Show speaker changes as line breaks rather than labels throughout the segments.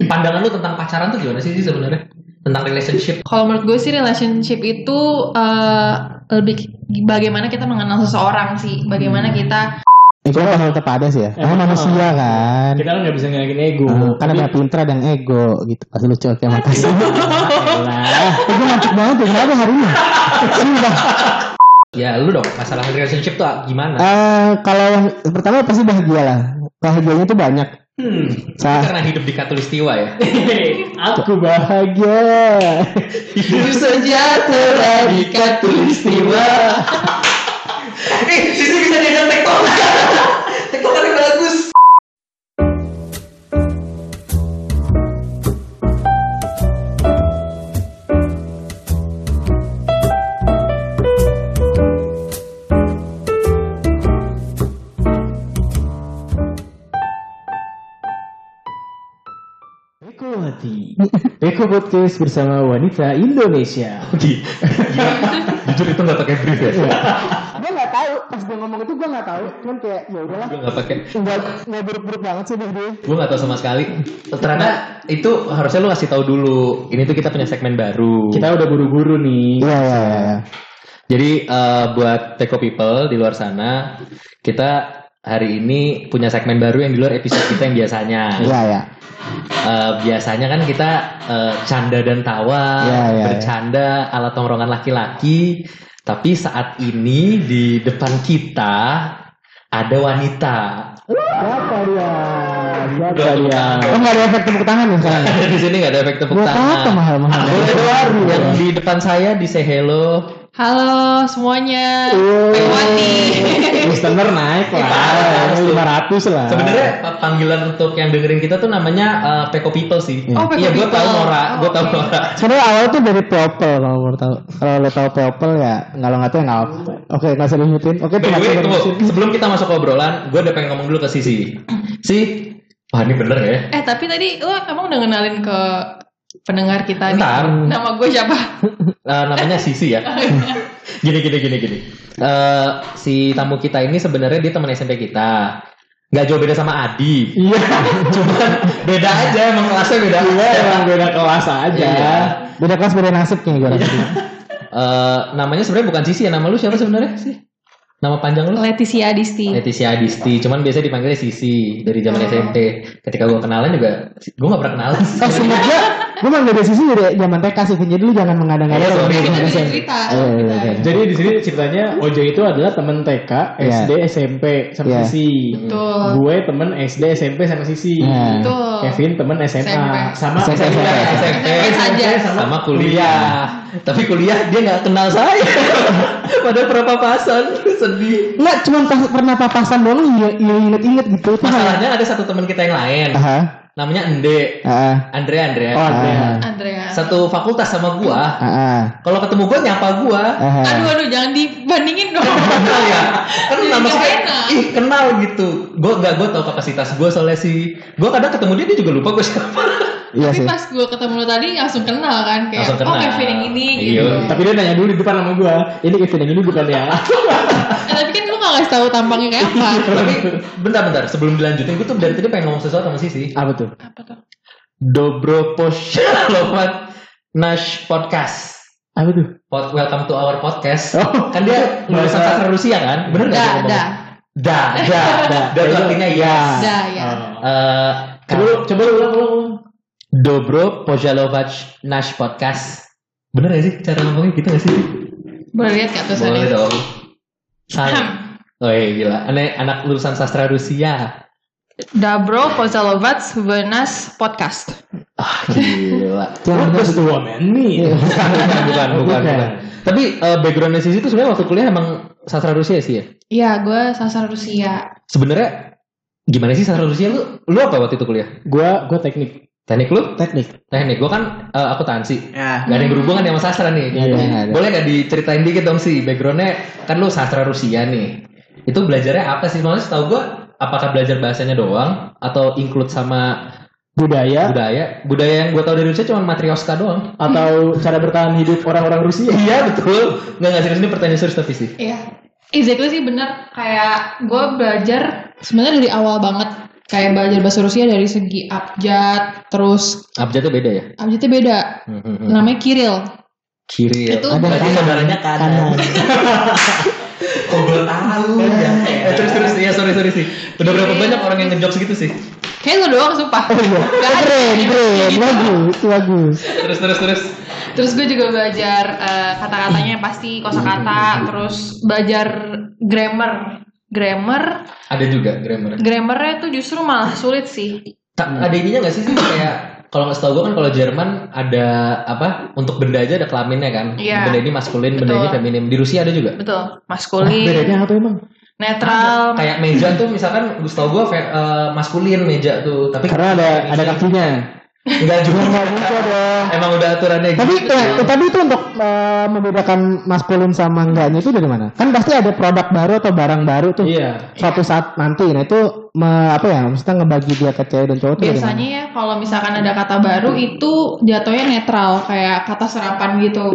pandangan lu tentang pacaran tuh gimana sih sih sebenarnya? Tentang relationship.
Kalau menurut gue sih relationship itu eh, lebih bagaimana kita mengenal seseorang sih, bagaimana kita
Itu kan hal kepada sih ya. Karena
Emang,
manusia kan.
Kita kan nggak bisa ngelakin ego.
Ah, kan ada pinter dan ego gitu. Pas lucu oke makasih. Ah, gue ngantuk banget ya. Kenapa hari ini? Sumpah.
Ya lu dong, masalah relationship tuh gimana?
Eh, kalau yang pertama pasti bahagia lah. Bahagianya itu banyak.
Hmm,
Sa-
karena hidup di katulistiwa ya.
Aku
Bahagia. Iya.
Hidup sejahtera di katulistiwa. Eh, sisi bisa diajak tektokan. Tektokannya bagus.
Beko Mati. Beko Podcast bersama wanita Indonesia.
Jujur itu nggak pakai brief ya?
gue nggak tahu pas gue ngomong itu gue nggak tahu cuman kayak ya udahlah
Gue nggak pakai.
nggak nggak buruk-buruk banget sih dari
Gue nggak tahu sama sekali. Ternyata itu harusnya lu kasih tahu dulu. Ini tuh kita punya segmen baru.
Kita udah buru-buru nih.
iya iya iya
Jadi eh, buat Teko People di luar sana, kita hari ini punya segmen baru yang di luar episode kita yang biasanya.
iya iya
Eh, biasanya kan kita eh, canda dan tawa,
Ya, ya,
bercanda ala tongkrongan laki-laki. Tapi saat ini di depan kita ada wanita.
siapa dia siapa
Udah,
dia
udah.
oh nggak ada efek tepuk tangan ya sekarang
di sini nggak ada efek tepuk
buat apa
tangan.
mahal mahal
Yang di depan saya di say hello.
halo semuanya. Wati.
Listener naik
Iya,
lah.
harus.
500
Ah.
lah.
Sebenarnya pa- panggilan untuk yang dengerin kita tuh namanya uh, Peko People sih.
Oh, Peko
Iya, gue
People.
tahu Nora,
Oh,
gue tahu
oke.
Nora.
sebenarnya awal tuh dari popel E kalau mau tahu kalau lo tahu popel ya nggak lo nggak tahu ya nggak apa oke nggak usah diingetin oke
By
terima
the way,
kasih
tunggu.
terima kasih.
sebelum kita masuk ke obrolan, gue udah pengen ngomong dulu ke Sisi. Si, wah ini bener ya.
Eh tapi tadi lo emang udah kenalin ke pendengar kita
Bentar.
nih. Nama gue siapa?
Eh, namanya Sisi ya. gini gini gini gini. Eh, si tamu kita ini sebenarnya dia teman SMP kita. Gak jauh beda sama Adi.
Iya.
Cuman beda aja emang kelasnya beda.
Iya, emang beda kelas aja.
Iya.
beda kelas beda nasib kayaknya gue rasa
Eh, namanya sebenarnya bukan Sisi ya. Nama lu siapa sebenarnya sih? Nama panjang lu?
Leticia Adisti.
Leticia Adisti, cuman biasa dipanggilnya Sisi dari zaman
Oh.
SMP. Ketika gue kenalan juga, gue gak pernah kenalan.
Eh semoga gue mah dari sisi dari zaman TK sih Vin. jadi lu jangan mengada-ngada
Iya, sorry.
kalau gua
Kita
ngomong
jadi
SM.
cerita.
Iya, iya,
Kita-
iya.
Jadi di sini ceritanya Ojo itu adalah temen TK,
Iya.
SD, SMP
Iya.
sama Sisi.
Betul.
Gue temen SD, SMP sama Sisi.
Iya.
Betul.
Kevin temen SMA
SMP.
sama
SMP.
SMP
saja.
sama kuliah. Tapi kuliah dia nggak kenal saya. Padahal perpapasan sedih.
Nggak, cuma pas- pernah papasan doang iya iya inget-inget gitu itu hanya
Masalahnya ada satu teman kita yang lain,
Aha.
namanya Ende,
Ah,
Andre Andre.
ah. oh
Andrea.
ah,
Andrea.
Satu fakultas sama gua.
ah, ah,
Kalau ketemu gua nyapa gua.
ah.
Aduh aduh jangan dibandingin dong.
kenal ya kan
Jadi
nama
nggak
saya
enak.
ih kenal gitu gue nggak gue tau kapasitas gue soalnya si gue kadang ketemu dia dia juga lupa gue siapa
iya
Tapi
sih
pas gue ketemu lo tadi langsung kenal kan kayak
Langsung kenal.
oh Kevin yang ini
Iya.
gitu.
Tapi dia nanya dulu di depan sama gue, ini Kevin yang ini bukan ya?
Eh, tapi kan lu gak ngasih tahu tampangnya kayak apa.
tapi bentar-bentar sebelum dilanjutin gue tuh dari tadi pengen ngomong sesuatu sama Sisi
Apa tuh?
apa tuh?
Dobro Poshalomat Nash Podcast
Apa tuh?
Pod, welcome to our podcast.
Oh.
kan dia lulusan
Bahasa-
sastra Rusia kan? Bener nggak
Da,
dia ngomong?
da.
Da, da, da. Da itu artinya ya.
Ah,
Iya.
Da ya.
Eh,
Coba lu, coba lu ulang, ulang, ulang.
Dobro Pojalovac Nash Podcast. Bener gak sih cara ngomongnya gitu gak sih?
Boleh lihat gak tuh
Boleh
sana?
dong. Salam. Oh iya gila. Aneh anak lulusan sastra Rusia.
Dabro Pozalovac Venas Podcast.
Ah gila.
What does the woman
Iya.
mean?
bukan, bukan, bukan,
Bukan.
bukan. Tapi eh, backgroundnya Sisi itu sebenarnya waktu kuliah emang sastra Rusia sih ya.
Iya, gue sasar Rusia.
Sebenarnya gimana sih sastra Rusia lu? Lu apa waktu itu kuliah?
Gue, gue teknik.
Teknik lu?
teknik
Teknik. Gua kan eh, akuntansi.
ya
Gak ada yang berhubungan sama sastra nih.
Iya, nggak ada.
Boleh gak diceritain dikit dong sih backgroundnya? Kan lu sastra Rusia nih. Itu belajarnya apa sih? Maksudnya setahu gue apakah belajar bahasanya doang atau include sama
Budaya
budaya budaya yang gue tau dari Rusia cuma matrioska doang
atau cara bertahan hidup orang-orang Rusia?
iya betul nggak nggak serius ini pertanyaan serius tapi sih
Iya. Exactly sih bener. Kayak gue belajar sebenarnya dari awal banget kayak belajar bahasa Rusia dari segi abjad terus
Abjadnya beda ya? Nah,
abjadnya beda namanya Kiril
Kiri ya.
Itu
Hmm, Ada
berarti
saudaranya
kanan.
Kok gue tahu ya? Eh, terus terus ya sorry sorry sih. Udah
Iya.
berapa banyak orang yang ngejokes gitu sih?
kayaknya lo doang sumpah Gak ada.
Keren,
iya, gitu.
keren, bagus, bagus.
Terus terus terus.
terus gue juga belajar eh, kata-katanya yang pasti kosakata terus belajar grammar grammar
Ada juga grammar.
grammarnya tuh justru malah sulit sih
Tak, ada ininya nggak sih sih kayak kalau nggak setahu gue kan kalau Jerman ada apa untuk benda aja ada kelaminnya kan
Iya.
benda ini maskulin benda
Betul.
ini feminim di Rusia ada juga
betul
Ah,
maskulin
bedanya apa emang
netral
kayak meja tuh misalkan gue setahu gue fe- eh, maskulin meja tuh tapi
karena ada ada kakinya
nggak juga
Nggak
gitu
bisa dong.
emang udah aturannya gitu.
Tapi eh, tapi itu untuk eh, membedakan maskulin sama enggaknya itu dari mana? Kan pasti ada produk baru atau barang baru tuh.
iya
Suatu saat nanti, nah itu me- apa ya? Maksudnya ngebagi dia ke cewek dan cowok itu dari mana?
biasanya ya kalau misalkan ada kata baru itu jatuhnya netral kayak kata serapan gitu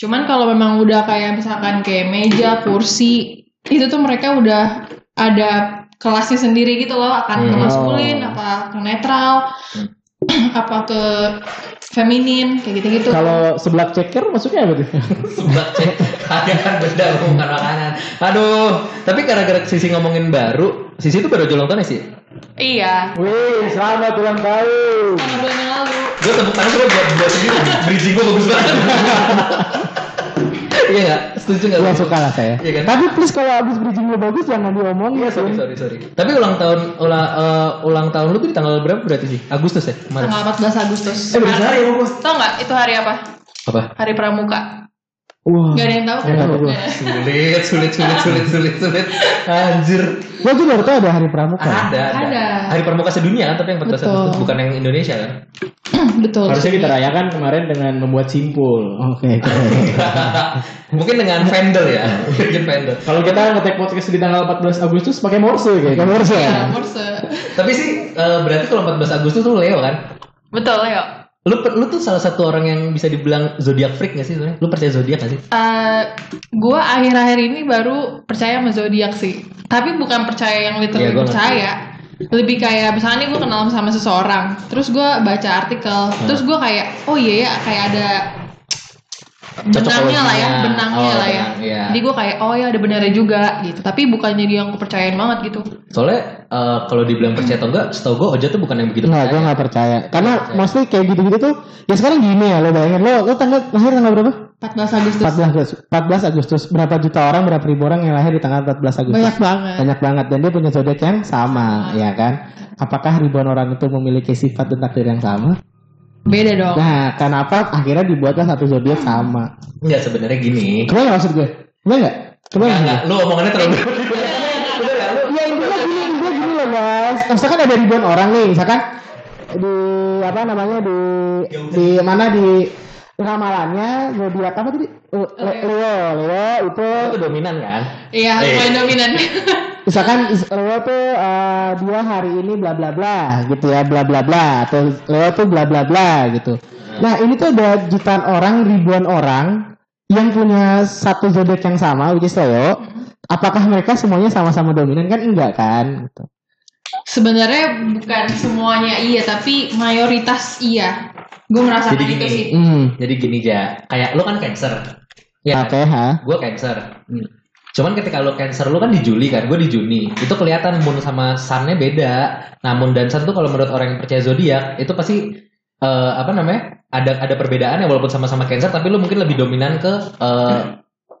cuman kalau memang udah kayak misalkan kayak meja kursi itu tuh mereka udah ada kelasnya sendiri gitu loh akan ke
Hmm.
maskulin apa ke netral apa ke feminim kayak gitu gitu
kalau seblak ceker maksudnya apa tuh
sebab cek ada kan benda bukan makanan aduh tapi gara-gara sisi ngomongin baru sisi itu baru aja ulang tahun ya sih
iya
wih selamat ulang tahun
Sama bulan yang lalu
gue tepuk tangan gue buat buat sendiri bridging gue bagus banget iya nggak setuju nggak
Gua
lu?
suka lah saya.
Iya kan?
Tapi please kalau abis bridging lu bagus jangan diomongin.
Iya, sorry, sorry, sorry. Tapi ulang tahun ulang ulang tahun lu tuh di tanggal berapa berarti sih? Agustus ya? Kemarin.
tanggal 14 Agustus
Eh, berarti hari ya, Bos.
tau nggak itu hari apa
Apa?
hari pramuka
Wah.
nggak ada yang tahu kan?
Nggak tahu gua.
Sulit, sulit, sulit, sulit, sulit, sulit. Anjir.
Gua juga baru tahu ada hari pramuka.
Kan Ada, ada.
Ada.
Hari pramuka sedunia kan, tapi yang 14 Agustus
Betul.
bukan yang Indonesia kan?
betul
harusnya kita rayakan kemarin dengan membuat simpul
Oke, keren.
Mungkin dengan vendor ya. Bikin vendor.
kalau kita ngetek podcast di tanggal 14 Agustus pakai morse gitu.
Gak
kayaknya
harus ya.
Iya, Morse.
Tapi sih eh, berarti kalau 14 Agustus lu Leo kan?
betul Leo
Lu per- lu tuh salah satu orang yang bisa dibilang zodiak freak gak sih sebenarnya? Lu percaya zodiak gak sih?
Eh, gua akhir-akhir ini baru percaya sama zodiak sih. Tapi bukan percaya yang
Iya,
literally
gua
percaya. Lebih kayak misalnya nih gua kenal sama seseorang, terus gua baca artikel,
Iya.
terus gua kayak oh iya ya kayak ada benangnya lah ya,
Cocokologinya.
benangnya
Oh,
lah ya.
benang, iya.
Jadi gua kayak oh ya ada benarnya juga gitu. Tapi bukan jadi yang gua percayain banget gitu.
Soalnya eh, kalau dibilang percaya atau enggak, setahu gua Oja tuh bukan yang begitu
Enggak,
percaya.
gue gak percaya. Karena
Iya,
Percaya.
mostly kayak gitu-gitu tuh, ya sekarang gini ya, lo bayangin. Lo, lo tanggal, lahir tanggal berapa?
14 Agustus
14 Agustus. 14 Agustus. Berapa juta orang, berapa ribu orang yang lahir di tanggal 14 Agustus?
banyak banget.
Banyak banget. Dan dia punya zodiak yang sama, ya kan? Apakah ribuan orang itu memiliki sifat dan takdir yang sama?
Beda dong.
Nah, kenapa akhirnya dibuatlah satu zodiak sama?
Enggak sebenarnya gini.
Keren nggak maksud gue? Keren nggak? Keren
Enggak, enggak.
nggak?
Lu omongannya terlalu
Ya intinya gini, intinya gini loh mas. Misalkan ada ribuan orang nih, misalkan di apa namanya di di mana di ramalannya zodiak apa tadi? Le- Le- Leo, Leo itu
Lu tuh dominan kan?
Iya,
Eh.
lumayan dominan.
misalkan is- Leo tuh eh, dia hari ini bla bla bla gitu ya bla bla bla atau Leo tuh bla bla bla gitu. Nah ini tuh ada jutaan orang ribuan orang yang punya satu zodiak yang sama, which is Leo. Apakah mereka semuanya sama-sama dominan kan enggak kan? Gitu.
Sebenarnya bukan semuanya iya, tapi mayoritas iya. Gue merasakan
Jadi
itu
gini.
gitu sih.
Hmm.
Jadi gini ja, kayak lu kan cancer. Ya.
Oke, ha.
Gue cancer. Hmm. Cuman ketika lu cancer lu kan di Juli kan, gue di Juni. Itu kelihatan moon sama sunnya beda. Nah moon dan sun tuh kalau menurut orang yang percaya zodiak itu pasti eh, apa namanya? Ada ada perbedaan ya walaupun sama-sama cancer tapi lu mungkin lebih dominan ke eh,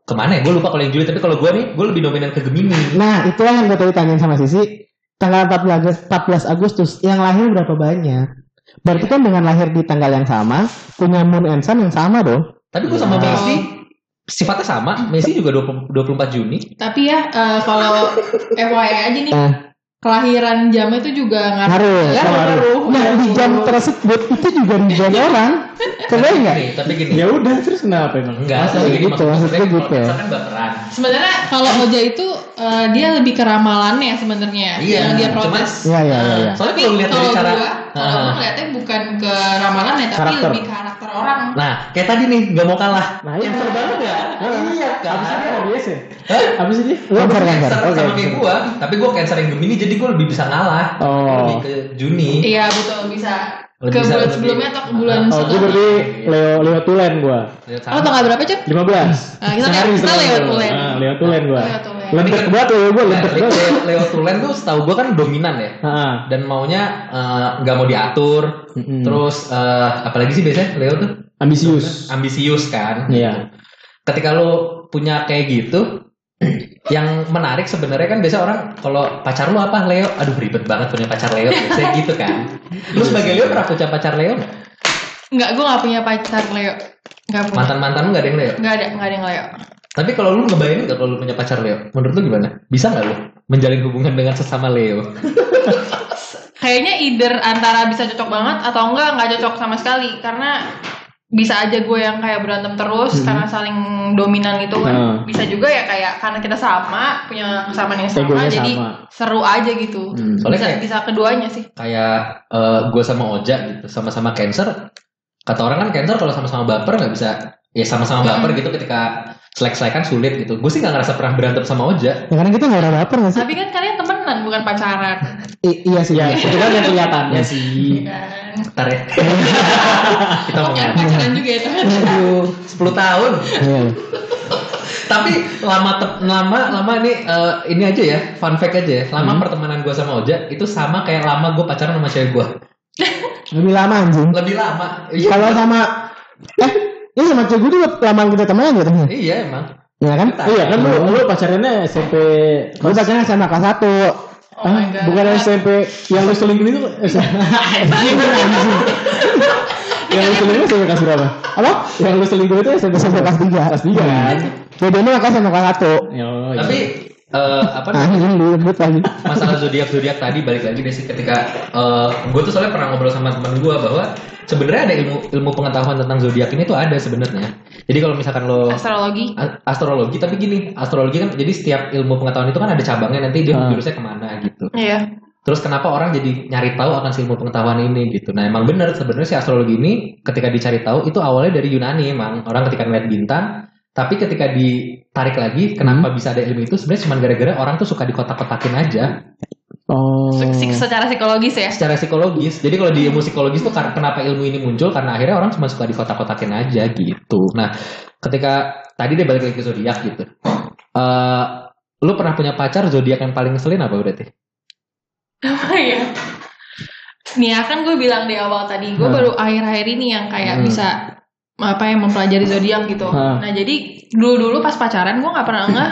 kemana ya? Gue lupa kalau yang Juli tapi kalau gue nih gue lebih dominan ke Gemini.
Nah, itulah yang gue tadi tanyain sama Sisi. Tanggal 14, 14 Agustus, yang lahir berapa banyak? Berarti kan dengan lahir di tanggal yang sama, punya moon and sun yang sama dong.
Tapi gue sama
Wow.
Messi sifatnya sama. Messi juga 20, 24 Juni.
Tapi ya eh, kalau FYI aja nih
Eh.
kelahiran jamnya itu juga ngaruh.
Ngaruh.
Ya,
ngaruh. Nah, di jam tersebut itu juga ribuan orang. Kebayang nggak?
Nih, tapi gini.
ya udah terus kenapa emang
Enggak,
Maksudnya
tapi gini,
Iya. gitu, maksudnya
kalau
gitu ya.
cancer kan baperan.
Sebenarnya kalau Oja itu eh, dia lebih keramalannya sebenarnya
Iya,
yang dia
cuman-
protes.
Iya, iya, iya. Ya.
Soalnya
Tapi
kalau lihat dari
kalau
cara
gua- Kalau
Ah.
aku ngeliatnya bukan ke ramalannya tapi
Karakter.
lebih karakter orang.
Nah, kayak tadi nih, nggak mau kalah.
Nah, iya.
bener banget ya? Iya kan?
Abis ini mau biasa.
Hah?
Abis ini.
Cancer, cancer.
Sama-
Iya, Oke.
sama kayak gue, tapi gue cancer yang Gemini jadi gue lebih bisa ngalah. Gua
Oh.
Lebih ke Juni.
Iya betul bisa
Lebih
ke
bisa
bulan
lebih.
sebelumnya atau ke bulan
Oh, gue
setelahnya.
berarti Leo Leo Tulen gue.
Lihat
Oh,
sama.
tanggal berapa cek?
15
Nah, kita-
Sehari
kita
setelah
Leo
itu.
Tulen.
Ah, Leo Tulen gue.
Leo Tulen.
Lempet banget Leo gue,
Nah,
lempet
Leo,
banget.
Leo Tulen tuh setahu gue kan dominan ya.
Ah,
Dan maunya eh, nggak mau diatur.
Mm-mm.
Terus eh, apalagi sih biasanya Leo tuh
ambisius.
ambisius kan.
Iya.
Ketika lu punya kayak gitu, yang menarik sebenarnya kan biasa orang kalau pacar lu apa Leo, aduh ribet banget punya pacar Leo biasanya gitu kan.
Iya
Lu sebagai Leo pernah punya pacar Leo nggak?
Enggak, gue gak punya pacar Leo. Gak punya.
Mantan mantan lu nggak ada yang Leo.
Gak ada, gak ada yang Leo.
Tapi kalau lu ngebayangin nggak kalau lu punya pacar Leo, menurut lu gimana? Bisa nggak lu menjalin hubungan dengan sesama Leo?
Kayaknya either antara bisa cocok banget atau enggak nggak cocok sama sekali karena bisa aja gue yang kayak berantem terus karena saling dominan itu kan.
Hmm.
Bisa juga ya kayak karena kita sama, punya kesamaan yang sama
Egonya
jadi
sama.
seru aja gitu.
Hmm, soalnya
bisa
kayak-
bisa keduanya sih.
Kayak gue sama Oja gitu, sama-sama cancer. Kata orang kan cancer kalau sama-sama baper nggak bisa, ya sama-sama baper gitu ketika selek-selekan sulit gitu. Gue sih nggak ngerasa pernah berantem sama Oja.
Ya, karena kita nggak ada baper nggak sih?
Tapi kan kalian temenan bukan pacaran.
I- iya sih.
Ya,
iya.
itu kan yang kelihatannya sih.
Kan.
Ntar ya. Kita mau
Oh, kan pacaran juga ya teman.
Aduh, 10 tahun.
Iya.
Tapi lama te- lama lama ini eh, ini aja ya, fun fact aja ya. Lama pertemanan gue sama Oja itu sama kayak lama gue pacaran sama cewek gue.
Lebih lama anjing.
Lebih lama. Iya.
Kalau sama eh ini sama cewek gue juga lama kita temenan ya temen.
Iya emang.
Iya kan?
Kita.
Iya kan lu lu pacarannya SMP
Gue pacaran sama kelas satu.
Oh my god.
bukan SMP yang lu selingkuh itu SMP yang lu selingkuh SMP kelas berapa?
Apa?
Yang lu selingkuh itu SMP
Sampai kelas tiga.
kelas tiga kan?
Bedanya makanya sama kelas satu.
Ya, oh,
Tapi
iya.
eh, apa
Ah,
namanya?
ini ribut lagi.
masalah zodiak zodiak tadi balik lagi deh sih ketika gue tuh soalnya pernah ngobrol sama teman gue bahwa sebenarnya ada ilmu ilmu pengetahuan tentang zodiak ini tuh ada sebenarnya jadi kalau misalkan
Oh.
lo
Astrologi.
a- astrologi tapi gini astrologi kan jadi setiap ilmu pengetahuan itu kan ada cabangnya nanti dia
Ah.
jurusnya kemana gitu
Iya.
terus kenapa orang jadi nyari tahu akan si ilmu pengetahuan ini gitu nah emang bener sebenarnya si astrologi ini ketika dicari tahu itu awalnya dari Yunani emang orang ketika ngeliat bintang tapi ketika ditarik lagi kenapa bisa ada ilmu itu sebenarnya cuma gara-gara orang tuh suka dikotak-kotakin aja
oh.
Sik- Secara psikologis ya.
secara psikologis. Jadi kalau di ilmu psikologis tuh kar- kenapa ilmu ini muncul karena akhirnya orang cuma suka dikotak-kotakin aja gitu. Nah, ketika tadi dia balik lagi ke zodiak gitu. Eh lu pernah punya pacar zodiak yang paling ngeselin apa berarti?
Apa ya? Nih ya, kan gue bilang di awal tadi gue
Hmm.
baru akhir-akhir ini yang kayak
Hmm.
bisa apa yang mempelajari zodiak gitu.
Hmm.
Nah jadi dulu-dulu pas pacaran gue nggak pernah ngeh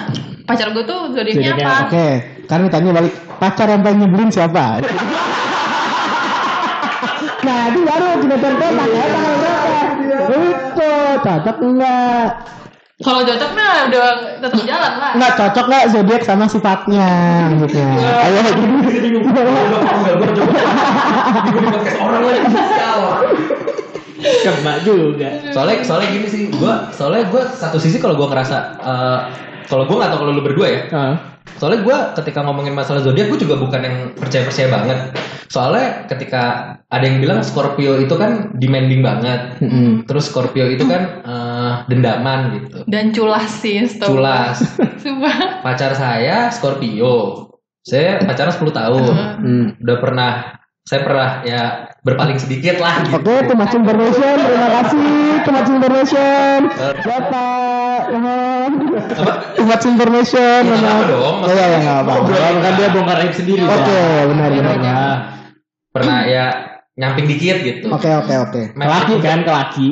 pacar gue tuh zodiaknya
Zodiaknya
apa.
Oke, karena ditanya balik pacar yang paling nyebelin siapa? nah, ini baru kita tonton tanggal berapa? Gitu. Itu
Oh,
cocok enggak?
Kalau cocok mah udah tetap jalan lah.
Enggak cocok enggak zodiak sama sifatnya maksudnya. Iya. Ayo.
orang
Kena juga.
Soalnya soalnya gini sih, gua soalnya gua satu sisi kalau gua ngerasa eh, kalau gua nggak tahu kalau lu berdua ya,
Ah.
Soalnya gue ketika ngomongin masalah zodiak gue juga bukan yang percaya-percaya banget. Soalnya ketika ada yang bilang Scorpio itu kan demanding banget.
Mm-mm.
Terus Scorpio itu kan eh, dendaman gitu.
Dan culas sih, setau gue.
Culas.
Sumpah.
Pacar saya Scorpio. Saya pacaran 10 tahun.
Hmm.
Udah pernah saya pernah ya berpaling sedikit lah gitu.
Oke, too much information. Terima kasih, too much information.
Eh,
Bapak, mohon.
apa?
too much information.
Ya, nggak
mohon.
apa-apa dong,
Iya, iya, nggak apa-apa.
Kalau kan dia bongkar aib sendiri.
Oke, benar, benar.
Iya,
Ah.
Pernah ya nyamping dikit gitu.
Oke, oke, oke.
Kelaki kan kelaki.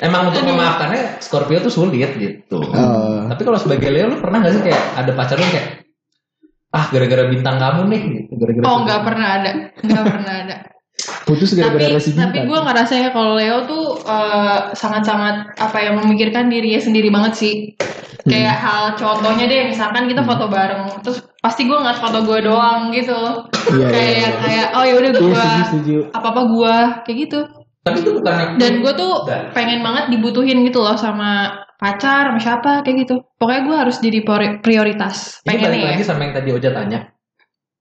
Emang untuk memaafkannya Scorpio tuh sulit gitu.
Eh.
Tapi kalau sebagai Leo lu pernah gak sih kayak ada pacar lu kayak ah gara-gara bintang kamu nih gitu, gara-gara
Oh nggak pernah ada, nggak pernah ada.
Putus gara-gara
tapi
resi
tapi gue ngerasa ya kalau Leo tuh eh, sangat-sangat apa ya memikirkan dirinya sendiri banget sih
Hmm.
kayak hal contohnya deh misalkan kita foto bareng terus pasti gue ngeliat foto gue doang gitu
Iya, iya,
kayak
iya.
kayak oh yaudah
Iya,
gue
setuju, setuju.
apa apa gue kayak gitu
tapi itu bukan
dan gue tuh
Dan-
pengen banget dibutuhin gitu loh sama pacar sama siapa kayak gitu pokoknya gue harus jadi priori- prioritas
ini
pengen
balik
ya
lagi sama yang tadi Oja tanya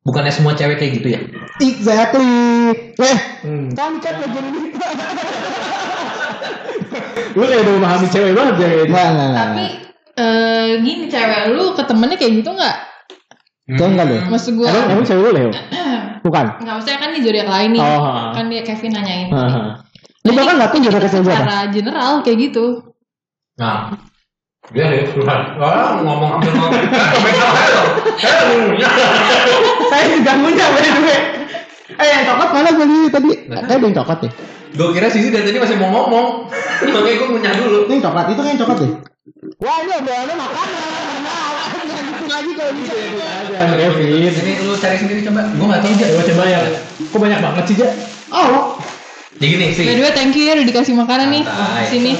bukannya semua cewek kayak gitu ya
Exactly. Eh,
Hmm.
kan kan lagi ini.
Lu kayak udah memahami cewek banget ya kayak gitu.
Enggak, enggak, enggak.
Tapi eh gini cewek lu ke temennya kayak gitu nggak?
Hmm.
Kayak enggak deh.
Maksud gue
Emang, emang cewek lu Leo?
Bukan.
nggak maksudnya kan di zodiak lain nih.
Oh.
Kan dia Kevin nanyain.
Haha.
Lu bahkan enggak tahu juga kesian siapa.
Secara general kayak gitu.
nah dia deh wah ngomong hampir ngomong
Saya diganggunya by the way. Eh, yang coklat mana gue lihat tadi? Kayak ada yang coklat deh.
gue kira sisi dari tadi masih mau ngomong makanya gue ngunyah dulu
Itu yang coklat, itu kan yang coklat deh. Wah, ini ada makanan. Makan Jangan gitu lagi kalau bisa.
Kan Kevin.
ini Iya, lu cari sendiri coba gue nggak tahu aja
Coba coba ya. Kok banyak banget sih, Ja?
Oh,
jadi gini sih
By the way, thank you ya udah dikasih makanan nih.
Santai.
Sini.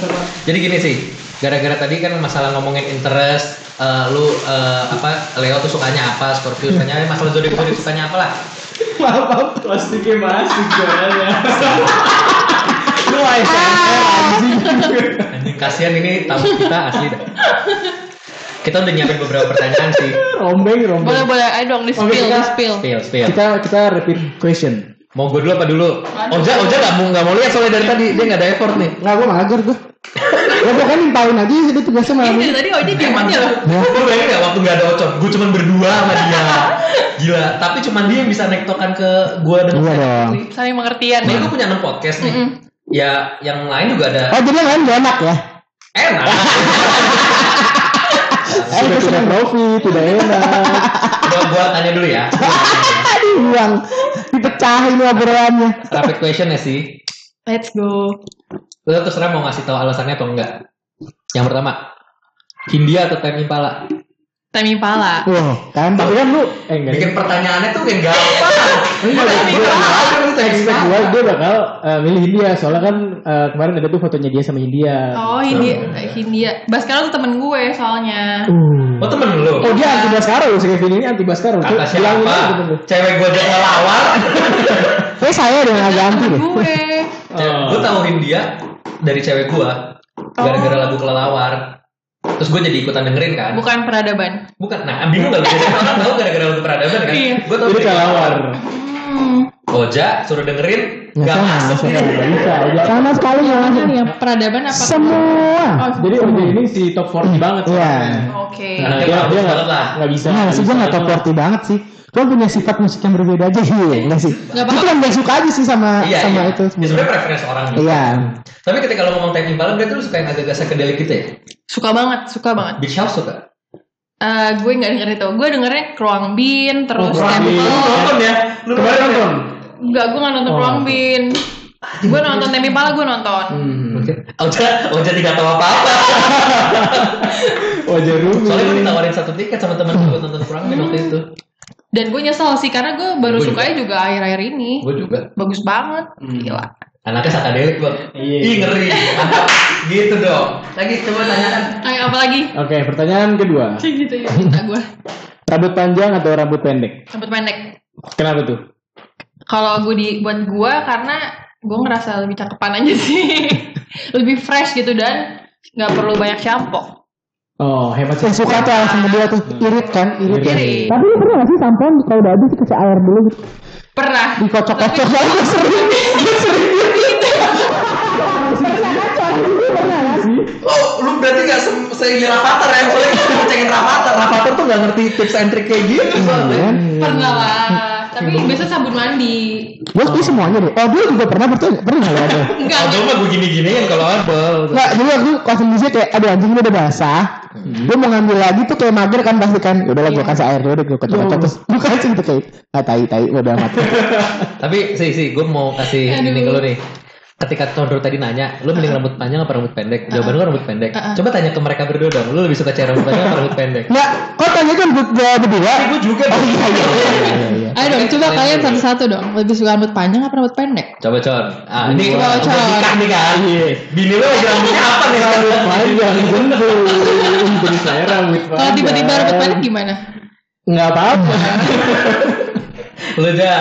Jadi gini sih, gara-gara tadi kan masalah ngomongin interest, eh, lu eh, apa Leo tuh sukanya apa, Scorpio sukanya apa, masalah zodiak zodiak sukanya apa lah.
Maaf, maaf. Plastiknya masih jalannya. Lu ASMR anjing.
Anjing kasihan ini tamu kita asli dah. Kita udah nyiapin beberapa pertanyaan sih.
Rombeng, rombeng.
Boleh boleh ayo dong di
Oke,
spill, di
kita-
spill.
Spill, spill.
Kita kita repeat question.
Mau gue dulu apa dulu? Oja, Oja nggak mau nggak mau lihat soalnya dari tadi dia nggak ada effort nih.
enggak gue mager gue. Ya gue kan nimpain aja itu tugasnya malam
Ini
ini.
dari tadi Odi diem aja loh.
Gue bayangin gak waktu gak ada Ocon, gue cuman berdua sama dia. Gila, tapi cuman dia yang bisa nektokan ke gue dan
Iya
Oja.
dong.
Saling pengertian.
Nih gue punya 6 podcast nih.
Mm-mm.
Ya, yang lain juga ada
Oh, jadi yang lain gak enak ya?
enak.
Eh, itu
Tidak
seneng
profit, tidak enak.
Gua, gua tanya dulu ya.
Aduh, buang. Dipecahin obrolannya.
Rapid question ya sih.
Let's go.
Lu terserah mau ngasih tahu alasannya atau enggak. Yang pertama, Hindia atau Time Impala?
Time Impala.
Wah, kan.
Tapi kan lu eh enggak.
Bikin pertanyaannya tuh yang gampang.
Enggak,
Time
gue-
Impala, lu Time
Expect
Impala.
gue gue bakal eh, milih India soalnya kan eh, kemarin ada tuh fotonya dia sama India.
Oh Hindia, Hindia. Baskara tuh temen gue soalnya.
Uh.
Oh temen lu?
Oh dia anti Baskaro si Kevin ini anti Baskaro.
Kata
Tuh,
siapa?
bilangin aja temen lu.
Cewek gua aja ngelawan.
Eh, saya ada yang agak anti
Temen
deh.
gue.
Cewek- Gua tahu Hindia dari cewek gua. Gara-gara lagu kelelawar. Terus gua jadi ikutan dengerin kan.
Bukan peradaban.
Bukan, nah bingung gak lu? Jadi Orang tahu gara-gara lagu peradaban kan?
Iya.
Gua tahu
Jadi
dari
kelawar.
Hmm.
Oja suruh dengerin,
Ya,
nggak
sama,
masuk.
sama,
dia.
Gak bisa. Oja.
Sama sekali Oh, gak
Mana
masuk.
nih yang peradaban apa?
Semua.
Jadi Oja ini si top 40 banget.
Iya.
Oke.
Nah,
Nah,
dia
bagus
dia nggak
banget lah.
nggak bisa.
Nah, sih gue
nggak
gak top
bisa.
40 banget sih. Gue punya sifat musik yang berbeda aja sih, enggak sih.
Nggak apa-apa.
Itu yang gak suka aja sih sama
Iya,
sama
iya.
itu
Ya,
sebenarnya.
sebenarnya preferensi orang. juga.
Iya.
Tapi ketika lo ngomong Time Impala berarti lo suka yang agak-agak psychedelic gitu ya?
Suka banget, suka banget.
Big House suka?
Eh, gue nggak denger itu. Gue dengernya Kruang Bin, terus
Kruang
Temple.
Bin.
Lo nonton ya? Lo
Kemarin nonton.
Enggak, gue nggak nonton Kruang Bin. Gue nonton Tempe Pala, gue nonton.
Hmm.
Oke. Oja, Oja tidak tahu apa-apa.
Oja Rumi.
Soalnya gue ditawarin satu tiket sama temen gue nonton kurang Bin waktu itu.
Dan gue nyesel sih, karena gue baru
Gue
sukanya juga akhir-akhir ini.
Gue juga.
Bagus banget. Gila.
Anaknya psychedelic gue.
Iya.
Ih ngeri. Mantap. gitu dong. Lagi coba tanyakan.
Ayo, apalagi?
Oke, pertanyaan kedua.
Kayak gitu ya, kita gue.
Rambut panjang atau rambut pendek?
Rambut pendek.
Kenapa tuh?
Kalau gue di buat gue karena gue ngerasa lebih cakepan aja sih. lebih fresh gitu dan nggak perlu banyak shampoo.
Oh, hebat sih.
Yang suka tuh alasan kedua tuh. Irit kan, irit kan.
Irit.
Tapi lu pernah gak sih sampean kalau udah habis dikasih air dulu gitu.
Pernah.
Dikocok-kocok banget gue sering. Gue sering gitu. Kocok-kocok. Lu pernah gak sih?
Oh, lu berarti gak se- sehingga Rafathar ya? Boleh kita ngecengin Rafathar. Rafathar tuh gak ngerti tips and trick kayak gitu.
Iya.
soalnya.
Pernah lah. Tapi biasa sabun mandi.
Gue sih semuanya deh. Oh, dia juga pernah betul. Pernah ya, gak lu ada?
Enggak.
Kalau
enggak.
mah gue gini-giniin kalau abal.
Enggak, jadi aku kosong di kayak aduh anjing ini udah basah. Gue mau ngambil lagi tuh kayak mager kan pasti kan. Udah lah gue kasih air dulu gue kocok-kocok terus gue kasih gitu kayak ah tai tai udah amat.
Tapi sih sih, gue mau kasih
Aduh.
ini ke lu nih. Ketika Condro tadi nanya, lu mending rambut panjang apa rambut pendek? Jawaban lu rambut pendek. Coba tanya ke mereka berdua dong, lu lebih suka cewek rambut panjang apa rambut pendek?
Enggak, kok tanya kan gue gue berdua.
Gue juga.
Oh iya iya iya iya.
Ayo dong, coba kalian satu-satu dong. Lebih suka rambut panjang apa rambut pendek?
Coba Con. Ah, ini
Coba,
udah
Con.
nikah nih kan. Bini lu lagi rambutnya apa nih?
Rambut panjang, tentu. Beri saya rambut panjang.
Kalau tiba-tiba rambut pendek gimana?
Enggak apa-apa.
Lu aja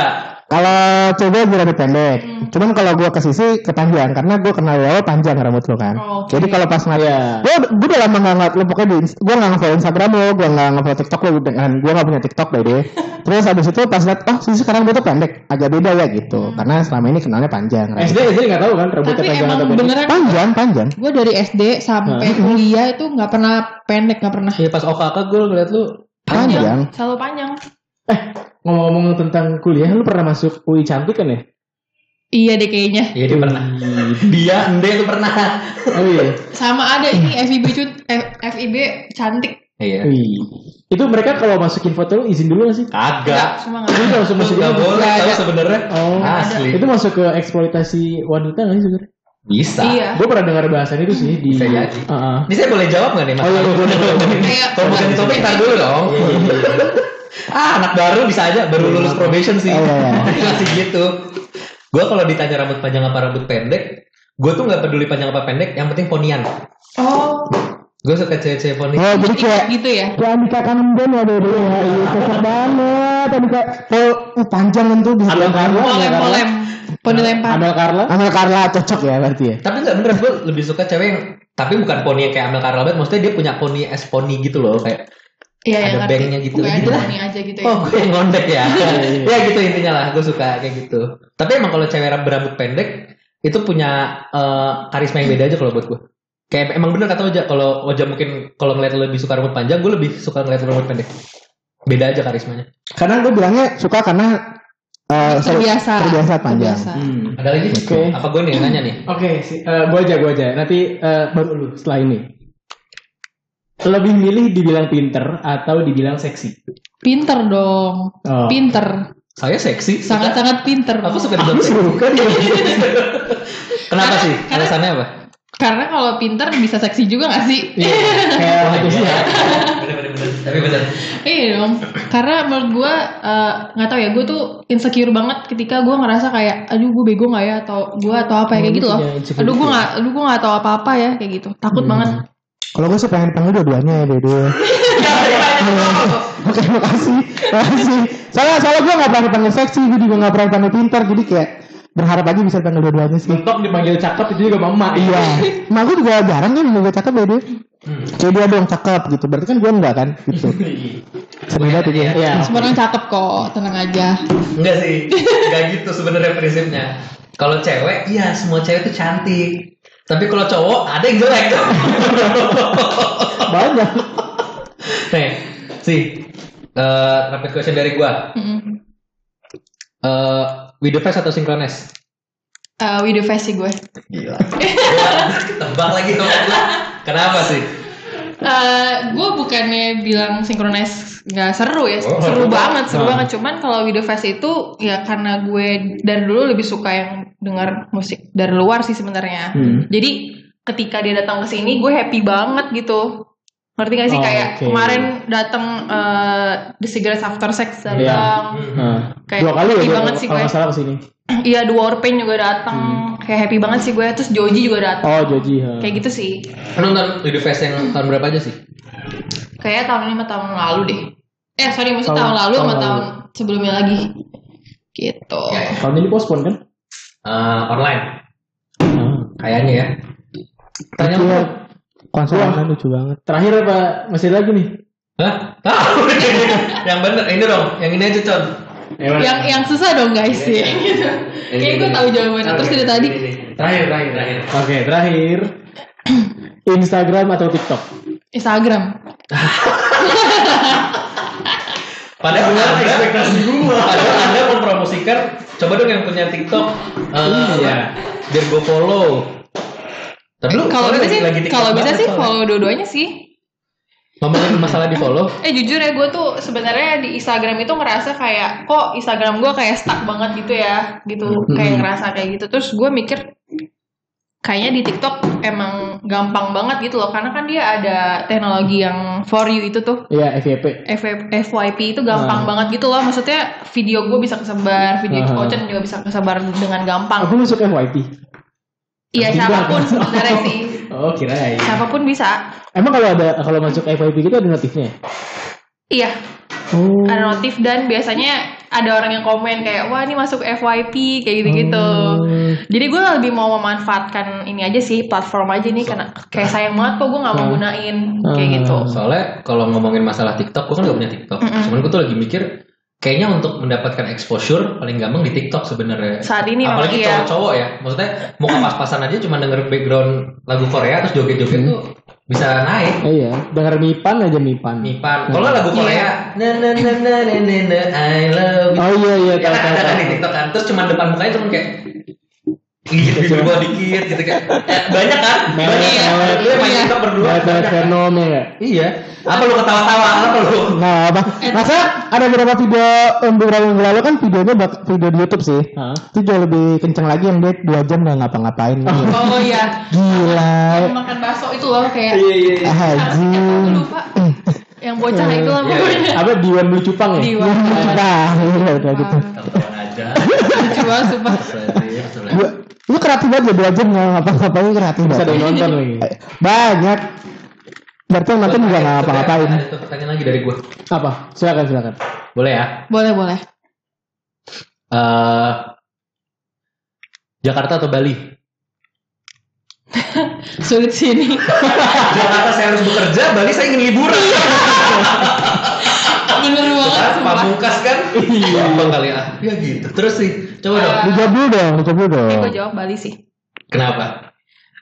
Kalau coba gue rambut pendek.
Hmm.
Cuman kalau gue ke sisi kepanjang karena gue kenal lo panjang rambut lo kan.
Oh, oke.
Jadi kalau pas ngeliat
Iya.
gue gue udah lama nggak ngeliat lo pokoknya di gue nggak nge-follow Instagram lo gue nggak nge-follow TikTok lo dengan gue nggak punya TikTok by the way. terus abis itu pas liat oh sisi sekarang gue tuh pendek agak beda ya gitu karena selama ini kenalnya panjang rambut.
SD SD nggak tahu kan rambutnya
Tapi
panjang
emang
atau pendek.
beneran
panjang panjang
gue dari SD sampai kuliah itu nggak pernah pendek nggak pernah
Ya pas OKK gue ngeliat lu
panjang
selalu panjang
Ngomong-ngomong tentang kuliah, lu pernah masuk UI cantik kan ya?
iya deh kayaknya
Iya dia pernah Dia Ende itu pernah
Oh iya.
sama ada ini FIB cut F- FIB cantik
Iya
Wih. Itu mereka kalau masukin foto lu izin dulu nggak sih?
Kagak
semua
Lu
nggak
langsung masukin.
Gak boleh
Nggak
tau
ada.
sebenernya
Oh.
Asli
Itu masuk ke eksploitasi wanita nggak sih sebenarnya?
Bisa
iya
Gue pernah dengar bahasan itu sih di.
Bisa jadi.
Heeh.
Ini saya boleh jawab gak nih mas?
Oh, iya, iya, boleh, boleh.
Kayak-
Kalau bukan itu ntar dulu dong Ah anak baru bisa aja Baru lulus probation sih
Iya, iya.
Masih gitu Gue kalau ditanya rambut panjang apa rambut pendek Gue tuh gak peduli panjang apa pendek Yang penting ponian
oh
Gue suka cewek-cewek ponian
oh jadi kayak
gitu ya
kayak Andika Kanenden ya dulu ya iya, cocok banget Andika oh uh, panjang kan tuh bisa
Amel Carla,
polem
kan?
polem poni lempar
Amel Carla.
Amel Carla cocok ya berarti ya
Tapi gak bener Gue lebih suka cewek yang Tapi bukan poni yang kayak Amel Carla banget Maksudnya dia punya poni es poni gitu loh Kayak
iya
ada
yang
banknya gitu.
kayak
Gitu.
ada poni aja gitu ya
Oh gue yang ngondek ya Ya gitu intinya lah Gue suka kayak gitu Tapi emang kalau cewek berambut pendek Itu punya eh, Karisma yang beda aja kalau buat gue Kayak emang bener kata Oja Kalau Oja mungkin Kalau ngeliat lo lebih suka rambut panjang Gue lebih suka ngeliat lo rambut pendek Beda aja karismanya
karena gue bilangnya suka karena eh, ser-
terbiasa
terbiasa panjang
Terbiasa.
Hmm.
Ada lagi?
Oke.
Apa gue nih yang nanya nih?
Oke, si- eh, gua aja, gua aja. Nanti eh, baru lu setelah ini. Lebih milih dibilang pinter atau dibilang seksi?
pinter dong
Oh.
pinter
Saya seksi suka.
sangat sangat pinter
Aku suka
Aku
dibilang seksi
suka dia.
Kenapa
Karena-
sih?
karena-
Alasannya apa?
karena kalau pinter bisa seksi juga gak sih
Kayak waktu itu ya.
Bener-bener Tapi bener
Iya dong, karena menurut gue eh, nggak tahu ya, gue tuh insecure banget ketika gue ngerasa kayak, aduh gue bego nggak ya atau gue atau apa ya kayak gitu loh.
punya insecure
Aduh gue
gitu Hmm.
nggak, aduh gue nggak tahu apa apa ya kayak gitu. Takut banget.
Kalau gue sih pengen panggil dua-duanya ya dua Oke makasih Makasih Soalnya, soalnya gue gak pernah panggil seksi Gue juga gak pernah panggil pintar Jadi kayak berharap aja bisa panggil dua-duanya sih
Mentok dipanggil cakep itu juga mama.
Iya Mak gue juga jarang kan gue cakep ya dia
Hmm.
Kayak dia dong cakep gitu Berarti kan gue enggak kan gitu Seneng banget ya
Iya.
Semua orang cakep kok, tenang aja.
Enggak sih, enggak gitu sebenarnya prinsipnya. Kalau cewek, iya semua cewek itu cantik. Tapi kalau cowok ada yang jelek.
Banyak.
Nih, sih. Eh, rapid question dari gua.
Mm-mm.
Eh, video face atau sinkrones?
Eh, with the face sih gue.
Gila. Tebak lagi sama gua. Kenapa sih?
Eh, gue bukannya bilang sinkronis nggak seru ya,
Oh.
seru banget,
Ah.
seru banget. Cuman kalau video fest itu ya karena gue dari dulu lebih suka yang dengar musik dari luar sih sebenarnya.
Hmm.
Jadi ketika dia datang ke sini, gue happy banget gitu. Ngerti gak sih
Oh,
kayak
oke.
kemarin datang eh, The Cigarettes After Sex datang,
Iya. Nah,
Kayak
dua kali ya
happy
dia
banget sih
kalau
gue.
nggak salah kesini.
iya The Warpaint juga datang, kayak happy banget sih gue. Terus Joji juga datang,
Oh Joji. ha.
kayak gitu sih.
Lu nonton video face yang tahun berapa aja sih?
Kayak tahun lima tahun lalu deh. Eh sorry maksudnya tahun,
Tahun-
lalu sama
tahun
tahun sebelumnya lagi. Gitu.
Kayak
Tahun ini postpone kan?
eh, online. Kayaknya ya. Tanya
Iya
lu.
Konsolan lucu banget
Terakhir apa masih lagi nih?
Hah? Tahu. yang bener ini dong, yang ini aja, Con.
Yang yang susah dong guys sih. Kayak gue tahu jawabannya terus dari tadi.
Terakhir, terakhir, terakhir.
Oke, terakhir. Instagram atau TikTok?
Instagram.
Padahal anda, ekspektasi gua. Padahal anda mempromosikan, coba dong yang punya TikTok. eh,
Iya.
Biar gue follow. Tapi lu
Kalau
soalnya
bisa sih,
lagi- lagi TikTok
kalau bisa
banget
sih
soalnya.
follow dua-duanya sih.
Ngomongin masalah di follow.
Eh jujur ya gue tuh sebenarnya di Instagram itu ngerasa kayak kok Instagram gue kayak stuck banget gitu ya gitu kayak ngerasa kayak gitu terus gue mikir kayaknya di TikTok emang gampang banget gitu loh karena kan dia ada teknologi yang for you itu tuh
Iya, FYP.
F- FYP itu gampang banget gitu loh maksudnya video gue bisa kesebar video
Ah.
Ocen juga bisa kesebar dengan
Aku
gampang
masuk FYP.
iya
tidak.
siapapun sebenarnya sih
Oh, kirain.
siapapun bisa
Emang kalau ada kalau masuk FYP gitu ada notifnya?
iya
Oh.
ada notif dan biasanya ada orang yang komen kayak wah ini masuk FYP kayak gitu-gitu. Jadi gue lebih mau memanfaatkan ini aja sih platform aja nih karena kayak sayang banget kok gue nggak mau gunain kayak gitu.
Soalnya kalau ngomongin masalah TikTok, gue kan gak punya TikTok. Cuman gue tuh lagi mikir, kayaknya untuk mendapatkan exposure paling gampang di TikTok sebenarnya.
Saat ini memang
Apalagi
iya.
cowok-cowok ya. Maksudnya muka pas-pasan aja cuma denger background lagu Korea terus joget-joget tuh bisa naik.
Iya, denger mipan aja mipan.
Mipan. Kalau lagu Korea, Iya. na na na na na na na I love you.
Oh iya iya
Ya
tahu
kan
tahu
ada kan
tahu.
di TikTok kan. Terus cuma depan mukanya cuma kayak gigit bibir gua dikit gitu kayak. Eh, Banyak kan?
Mewek,
Banyak ya.
mewek.
Lu yang main TikTok berdua.
Ada
banyak kan?
fenomena. ya?
Iya. Apa lu ketawa-tawa? Apa lu?
Nah, apa? Masa ada beberapa video em, beberapa minggu lalu kan videonya buat video di YouTube sih.
Hah?
Itu jauh lebih kenceng lagi yang dia dua jam nggak ngapa-ngapain.
Oh iya,
Gila, Ah,
makan bakso itu loh kayak
Iya iya. iya.
haji.
Aku lupa
Hmm.
yang bocah itu lah
Iya,
pokoknya.
Apa Diwan Bulu Cupang ya?
Di
Ya,
warung.
nah, iya, kayak gitu.
Ah.
Ketawa aja.
Lucu banget sumpah.
Astagfirullah,
Gua,
astagfirullah.
lu kreatif banget ya dua jam nggak ngapa-ngapain kreatif
Bisa ada
banget.
yang nonton lagi.
Eh, Banyak. Berarti yang nonton juga nggak ngapa-ngapain.
Ada satu pertanyaan lagi dari gua.
Apa? Silakan silakan.
Boleh ya?
Boleh boleh.
Eh, Jakarta atau Bali?
Sulit sini.
Jakarta saya harus bekerja, Bali saya ingin liburan.
Bener banget
Kan,
sumpah.
Pamungkas kan? Iya. kali ah? Ya gitu. Terus sih, coba dong.
Ah.
Dijawab dulu dong, dijawab dulu dong.
Gue Eh, jawab Bali sih.
Kenapa?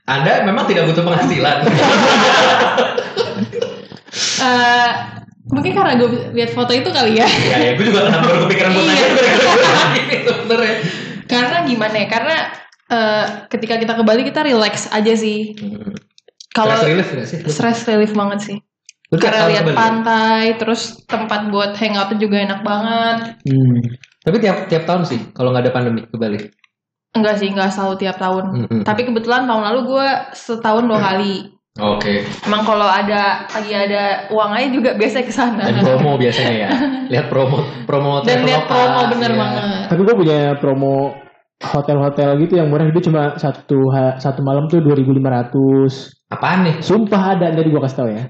Anda memang tidak butuh penghasilan.
Eh, mungkin karena gue lihat foto itu kali ya.
ya, ya, gue juga kenapa baru kepikiran buat nanya
Iya.
gara-gara gue nanya itu sebenarnya.
Karena gimana ya? Karena eh, ketika kita ke Bali kita relax aja sih. Kalau
Stress relief nggak sih?
stress relief banget sih.
Lu tiap
Karena
tahun
lihat
ke Bali? ya?
pantai, terus tempat buat hangout juga enak banget.
Tapi tiap tiap tahun sih, kalau nggak ada pandemi ke Bali.
Enggak sih, enggak selalu tiap tahun.
Mhm.
Tapi kebetulan tahun lalu gue setahun dua kali.
Oke.
Emang kalau ada lagi ada uangnya juga biasa ke sana.
Dan promo biasanya ya. Lihat promo promo travel
Dan lihat
lokal.
promo bener
Iya.
banget.
Tapi gue punya promo hotel-hotel gitu yang murah itu cuma satu ha- satu malam tuh 2.500.
Apaan nih?
Sumpah ada dari gue kasih tau ya.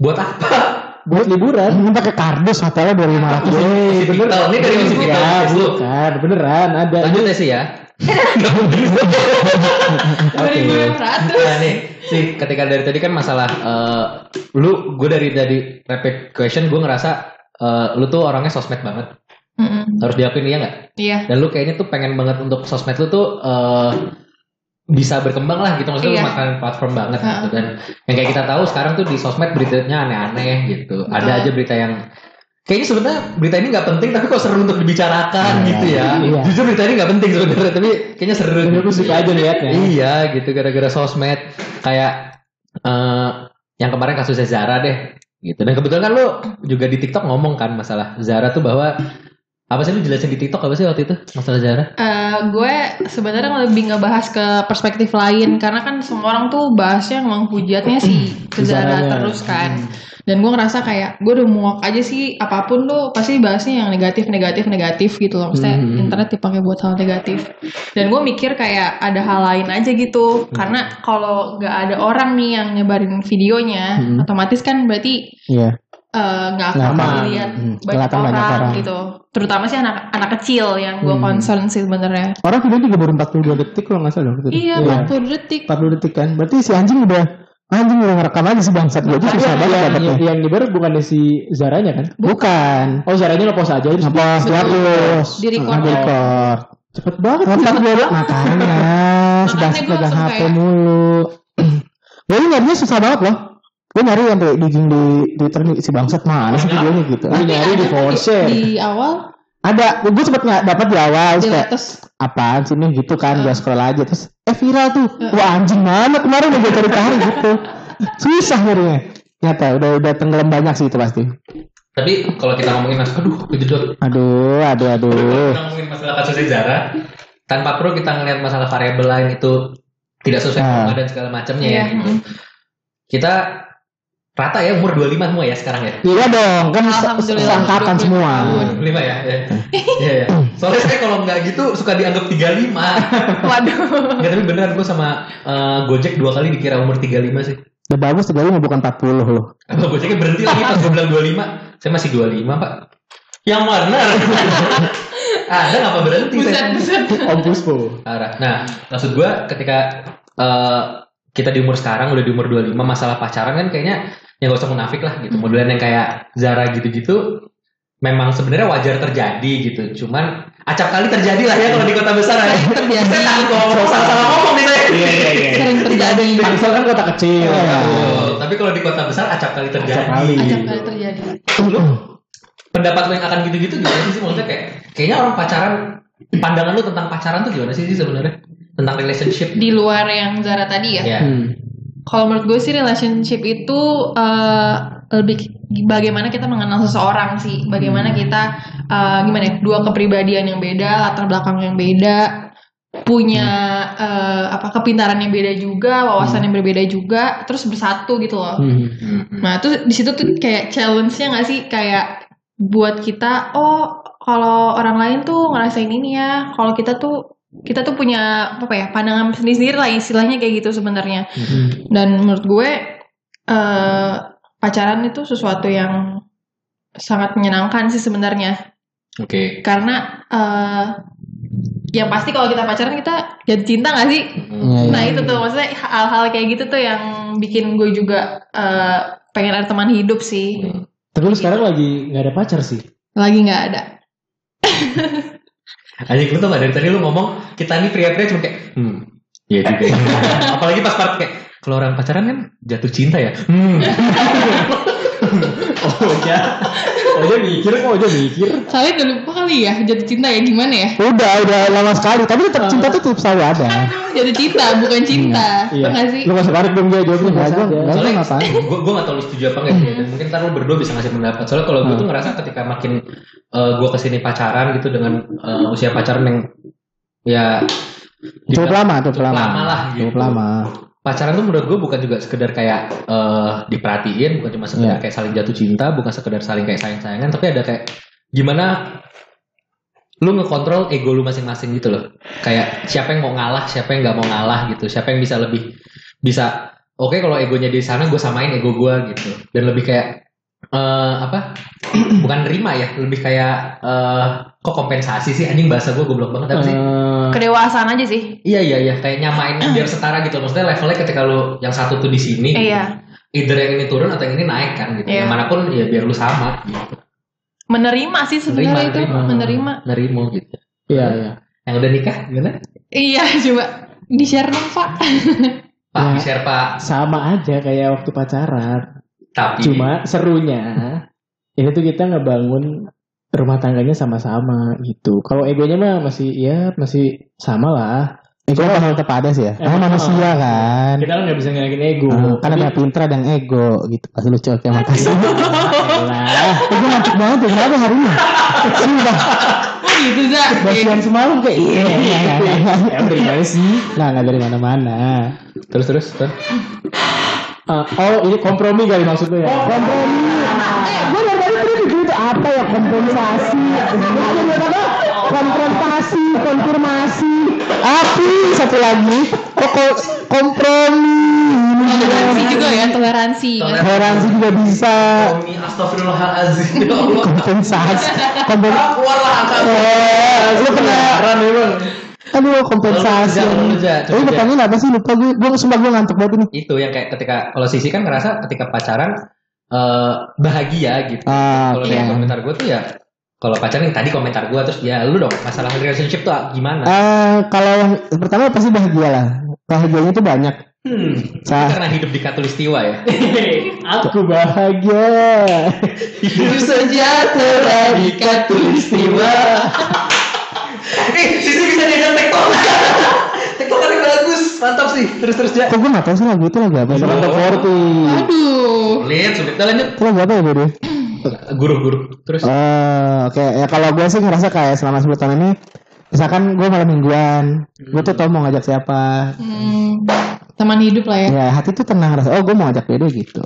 Buat apa?
Buat liburan.
Ini pakai kardus hotelnya dari lima ratus.
Yeay,
Bener.
beneran.
Ini dari
Iya,
Miss Vita.
Ya, bukan, beneran ada.
Lanjut ya sih ya.
Dua ribu enam ratus.
Nah nih, si ketika dari tadi kan masalah eh, lu gue dari dari rapid question gue ngerasa eh, lu tuh orangnya sosmed banget.
Mm-mm.
Harus diakuin iya nggak?
Iya.
Dan lu kayaknya tuh pengen banget untuk sosmed lu tuh eh, bisa berkembang lah gitu maksudnya
Iya.
lu makan platform banget gitu dan yang kayak kita tahu sekarang tuh di sosmed beritanya aneh-aneh gitu. Ada
Betul.
aja berita yang Kayaknya sebenarnya berita ini nggak penting tapi kok seru untuk dibicarakan
Iya.
gitu ya.
Iya.
Jujur berita ini nggak penting sebenarnya tapi kayaknya seru. gitu.
Jadi gue suka aja liatnya.
Iya gitu gara-gara sosmed kayak eh yang kemarin kasusnya Zara deh gitu dan kebetulan kan lo juga di TikTok ngomong kan masalah Zara tuh bahwa apa sih lu jelasin di TikTok apa sih waktu itu masalah Zara?
Eh, gue sebenarnya lebih ngebahas ke perspektif lain karena kan semua orang tuh bahasnya emang hujatnya si ke Zara
Zaranya.
terus kan dan gue ngerasa kayak gue udah muak aja sih apapun tuh pasti bahasnya yang negatif negatif negatif gitu loh maksudnya internet dipakai buat hal negatif dan gue mikir kayak ada hal lain aja gitu karena kalau nggak ada orang nih yang nyebarin videonya otomatis kan berarti
Iya.
eh, nggak
Nggak
akan
aman.
dilihat
Hmm.
banyak,
Kelihatan
orang,
banyak orang. Hmm.
gitu terutama sih anak anak kecil yang gue concern sih sebenarnya
Orang video juga baru empat puluh
detik kalau nggak salah. dong.
Iya, 40 detik.
40 detik kan. Berarti si anjing udah anjing udah ngerekam aja si bangsat gue aja
Tapi ya, iya,
susah
yang,
banget
yang,
dapetnya.
yang dibayar bukannya si Zaranya kan?
Bukan.
Oh Zaranya lo post aja terus
Apa dihapus?
Di record. ya.
Di record.
cepet banget.
Nonton gue makanya si
Makanya gua
bangsat pegang
langsung
HP
kayak-
mulu. Gue ini nyarinya susah banget loh. Gue nyari yang di di- di Twitter nih si bangsat mana sih videonya gitu.
Gue nyari di Porsche.
Iya, kan Di Iya, awal,
Ada, gue sempet nggak dapat di awal
di
terus kayak
atas.
apaan sih nih gitu kan
Iya.
gue scroll aja terus eh viral tuh wah anjing mana kemarin gue cari cari gitu susah nyarinya nyata udah udah tenggelam banyak sih itu pasti
Tapi kalau kita ngomongin mas, aduh kejedot.
aduh aduh aduh
Kita ngomongin masalah kasusnya Zara tanpa perlu kita ngelihat masalah variabel lain itu tidak sesuai
Ah.
norma dan segala macamnya
Iya,
ya. gitu. Kita rata ya umur 25 semua ya sekarang ya.
iya dong kan se-
Alhamdulillah,
seangkatan
25
semua
tahun.
lima ya. ya. Iya, ya. Soalnya saya kalau nggak gitu suka dianggap 35.
Waduh.
Nggak, tapi beneran gue sama eh, Gojek dua kali dikira umur 35 sih.
udah bagus tiga lima bukan 40 loh
Abang Gojeknya berhenti lagi pas gue bilang 25. Saya masih 25, Pak. Yang benar. Ada ngapa berhenti?
Buset,
saya?
buset.
Om Puspo.
Parah. Nah, maksud gue ketika eh, kita di umur sekarang udah di umur 25 masalah pacaran kan kayaknya ya gak usah munafik lah gitu. Modelan yang kayak Zara gitu-gitu memang sebenarnya wajar terjadi gitu. Cuman acap kali terjadi lah ya kalau di kota besar ya.
Terjadi.
Saya takut ngomong salah-salah ngomong nih saya.
Iya iya iya.
Sering terjadi.
Tangsel kan kota kecil.
Iya.
Betul. Tapi kalau di kota besar acap kali terjadi.
Acap Nah. kali.
Acap kali terjadi.
Pendapat lo yang akan gitu-gitu gimana sih? Maksudnya kayak kayaknya orang pacaran pandangan lu tentang pacaran tuh gimana sih sih sebenarnya? Tentang relationship.
Di luar yang Zara tadi ya.
Iya.
Hmm.
Kalau menurut gue sih relationship itu eh, lebih bagaimana kita mengenal seseorang sih, bagaimana kita eh, gimana ya, dua kepribadian yang beda, latar belakang yang beda, punya eh, apa kepintaran yang beda juga, wawasan yang berbeda juga, terus bersatu gitu loh.
Hmm.
Hmm.
Nah, terus di situ tuh kayak challenge-nya nggak sih kayak buat kita, oh kalau orang lain tuh ngerasain ini ya, kalau kita tuh kita tuh punya apa ya pandangan sendiri-sendiri lah istilahnya kayak gitu sebenarnya. Dan menurut gue eh, pacaran itu sesuatu yang sangat menyenangkan sih sebenarnya
Oke.
karena eh, yang pasti kalau kita pacaran kita jadi cinta nggak sih?
Hmm.
Iya,
Nah itu tuh maksudnya hal-hal kayak gitu tuh yang bikin gue juga eh, pengen ada teman hidup sih.
Tapi lu sekarang lagi nggak ada pacar sih?
Lagi nggak ada.
Anjing lu tuh nggak dari tadi lu ngomong kita nih pria-pria cuma kayak hmm. Iya juga. ya." Apalagi pas part kayak kalau orang pacaran kan jatuh cinta ya. Hmm. Oh, iya.
Oja. Oja mikir kok Oja mikir.
Kalian udah lupa kali ya jatuh cinta ya gimana ya?
Udah, udah lama sekali. Tapi tetap cinta tuh tetap selalu ada.
Jatuh cinta bukan cinta,
Iya.
Enggak sih?
Lu masuk tarik dong dia jawabnya enggak
Biasa
gua
aja.
Iya.
enggak gua ngapain.
gue gue gak tau lu setuju apa enggak sih. Dan mungkin ntar lu berdua bisa ngasih pendapat. Soalnya kalau
Hmm.
gue tuh ngerasa ketika makin gue kesini pacaran gitu dengan eh, usia pacaran yang ya
Cukup
dibilang-
lama, cukup lama.
lama lah gitu.
Cukup lama.
pacaran tuh menurut gue bukan juga sekedar kayak eh, diperhatiin, bukan cuma sekedar
Iya.
kayak saling jatuh cinta, bukan sekedar saling kayak sayang-sayangan, tapi ada kayak gimana lu ngekontrol ego lu masing-masing gitu loh. Kayak siapa yang mau ngalah, siapa yang nggak mau ngalah gitu, siapa yang bisa lebih bisa oke kalau egonya di sana gue samain ego gue gitu dan lebih kayak eh, apa bukan nerima ya lebih kayak eh, kok kompensasi sih anjing bahasa gue goblok banget apa sih
Eh,
Kedewasaan aja sih.
Iya iya iya kayak nyamain biar setara gitu maksudnya levelnya ketika lu yang satu tuh di sini,
Eh, Iya.
either yang ini turun atau yang ini naik kan gitu.
Iya.
Yang manapun ya biar lu sama gitu.
Menerima sih sebenarnya
Menerima,
itu
menerima.
menerima.
Nerimo gitu.
Iya iya.
Yang udah nikah gimana?
Iya coba di share dong pak.
Pak
Ya.
share Pak.
Sama aja kayak waktu pacaran.
Tapi
Cuma serunya ini tuh kita ngebangun rumah tangganya sama-sama gitu. Kalau egonya mah masih ya masih sama lah.
Ego kan tetap ada sih ya. Karena
Emang,
manusia kan.
Kita kan nggak bisa ngelakin ego.
Ah, kan ada pintra dan ego gitu. Pasti lucu oke makasih.
Lah,
Ego ngantuk banget ya, kenapa hari ini? Sumpah,
Oh gitu za.
basian semalam kayak iya. iya, iya, iya.
emang dari mana sih?
Nah, nggak dari mana-mana.
terus terus terus.
Ah, oh, ini kompromi kali maksudnya ya?
Oh. Kompromi. Eh, gue dari tadi tadi gitu apa ya kompensasi? Apa ya, apa? Konfrontasi, konfirmasi. Api satu lagi. Pokok kompromi.
Toleransi juga ya toleransi.
Toleransi juga bisa.
Tommy astagfirullahalazim. Ya Allah.
Kompensasi. Kompensasi.
Ah, Keluarlah angka.
Eh, lu pernah
ya,
Keren memang.
Aduh kompensasi.
Lu, Zak, lu, Zak.
Tapi pertanyaan apa sih lupa gue? Gue sumpah gue ngantuk banget ini.
Itu yang kayak ketika kalau Sisi kan ngerasa ketika pacaran eh, bahagia gitu.
Ah,
Kalau
oke.
dari komentar gue tuh ya kalau pacaran yang tadi komentar gue terus ya lu dong masalah relationship tuh gimana?
Eh, kalau yang pertama pasti bahagia lah. Bahagianya itu banyak.
Hmm,
Sa-
karena hidup di katulistiwa ya.
Aku bahagia.
hidup sejahtera di katulistiwa. eh, sisi bisa diajak tektokan. Tektokannya bagus, mantap sih. Terus terus ya.
Kok gue gak tau sih lagu itu lagu apa? Sama
Aduh.
The Forty.
Aduh.
Sulit, sulit. Kita lanjut.
Itu lagu apa ya bodoh?
Guru, guru. Terus.
Eh, oke. Ya kalau gue sih ngerasa kayak selama 10 tahun ini Misalkan gue malam mingguan, gue tuh tau mau ngajak siapa.
Hmm, teman hidup lah ya.
Ya hati tuh tenang rasa. Oh gue mau ngajak dede gitu.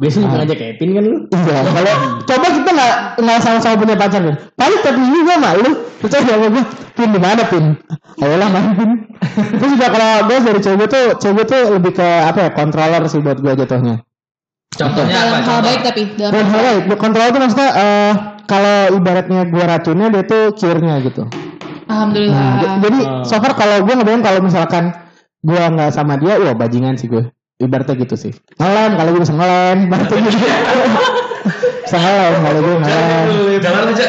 Biasanya juga ngajak Kevin kan lu?
Iya, kalau coba kita nggak nggak sama-sama punya pacar kan, paling tapi ini gue malu. Percaya nggak sama gue, pin di mana pin? Ayolah main pin. Terus juga kalau gue dari cowok gue tuh, cowok gue tuh lebih ke apa ya, controller sih buat gue jatuhnya.
Contohnya apa?
Dalam hal
Iya, Contoh.
baik tapi dalam
Dan hal lain, kontrol itu maksudnya eh kalau ibaratnya gue racunnya dia tuh cure-nya gitu.
Alhamdulillah.
Nah, j- jadi
Ah.
so far kalau gue ngebayang kalau misalkan gue nggak sama dia, wah bajingan sih gue. Ibaratnya gitu sih. Ngelem kalau gue bisa ngelem, ibaratnya gitu. bisa ngelem kalau gue ngelem.
Jangan aja.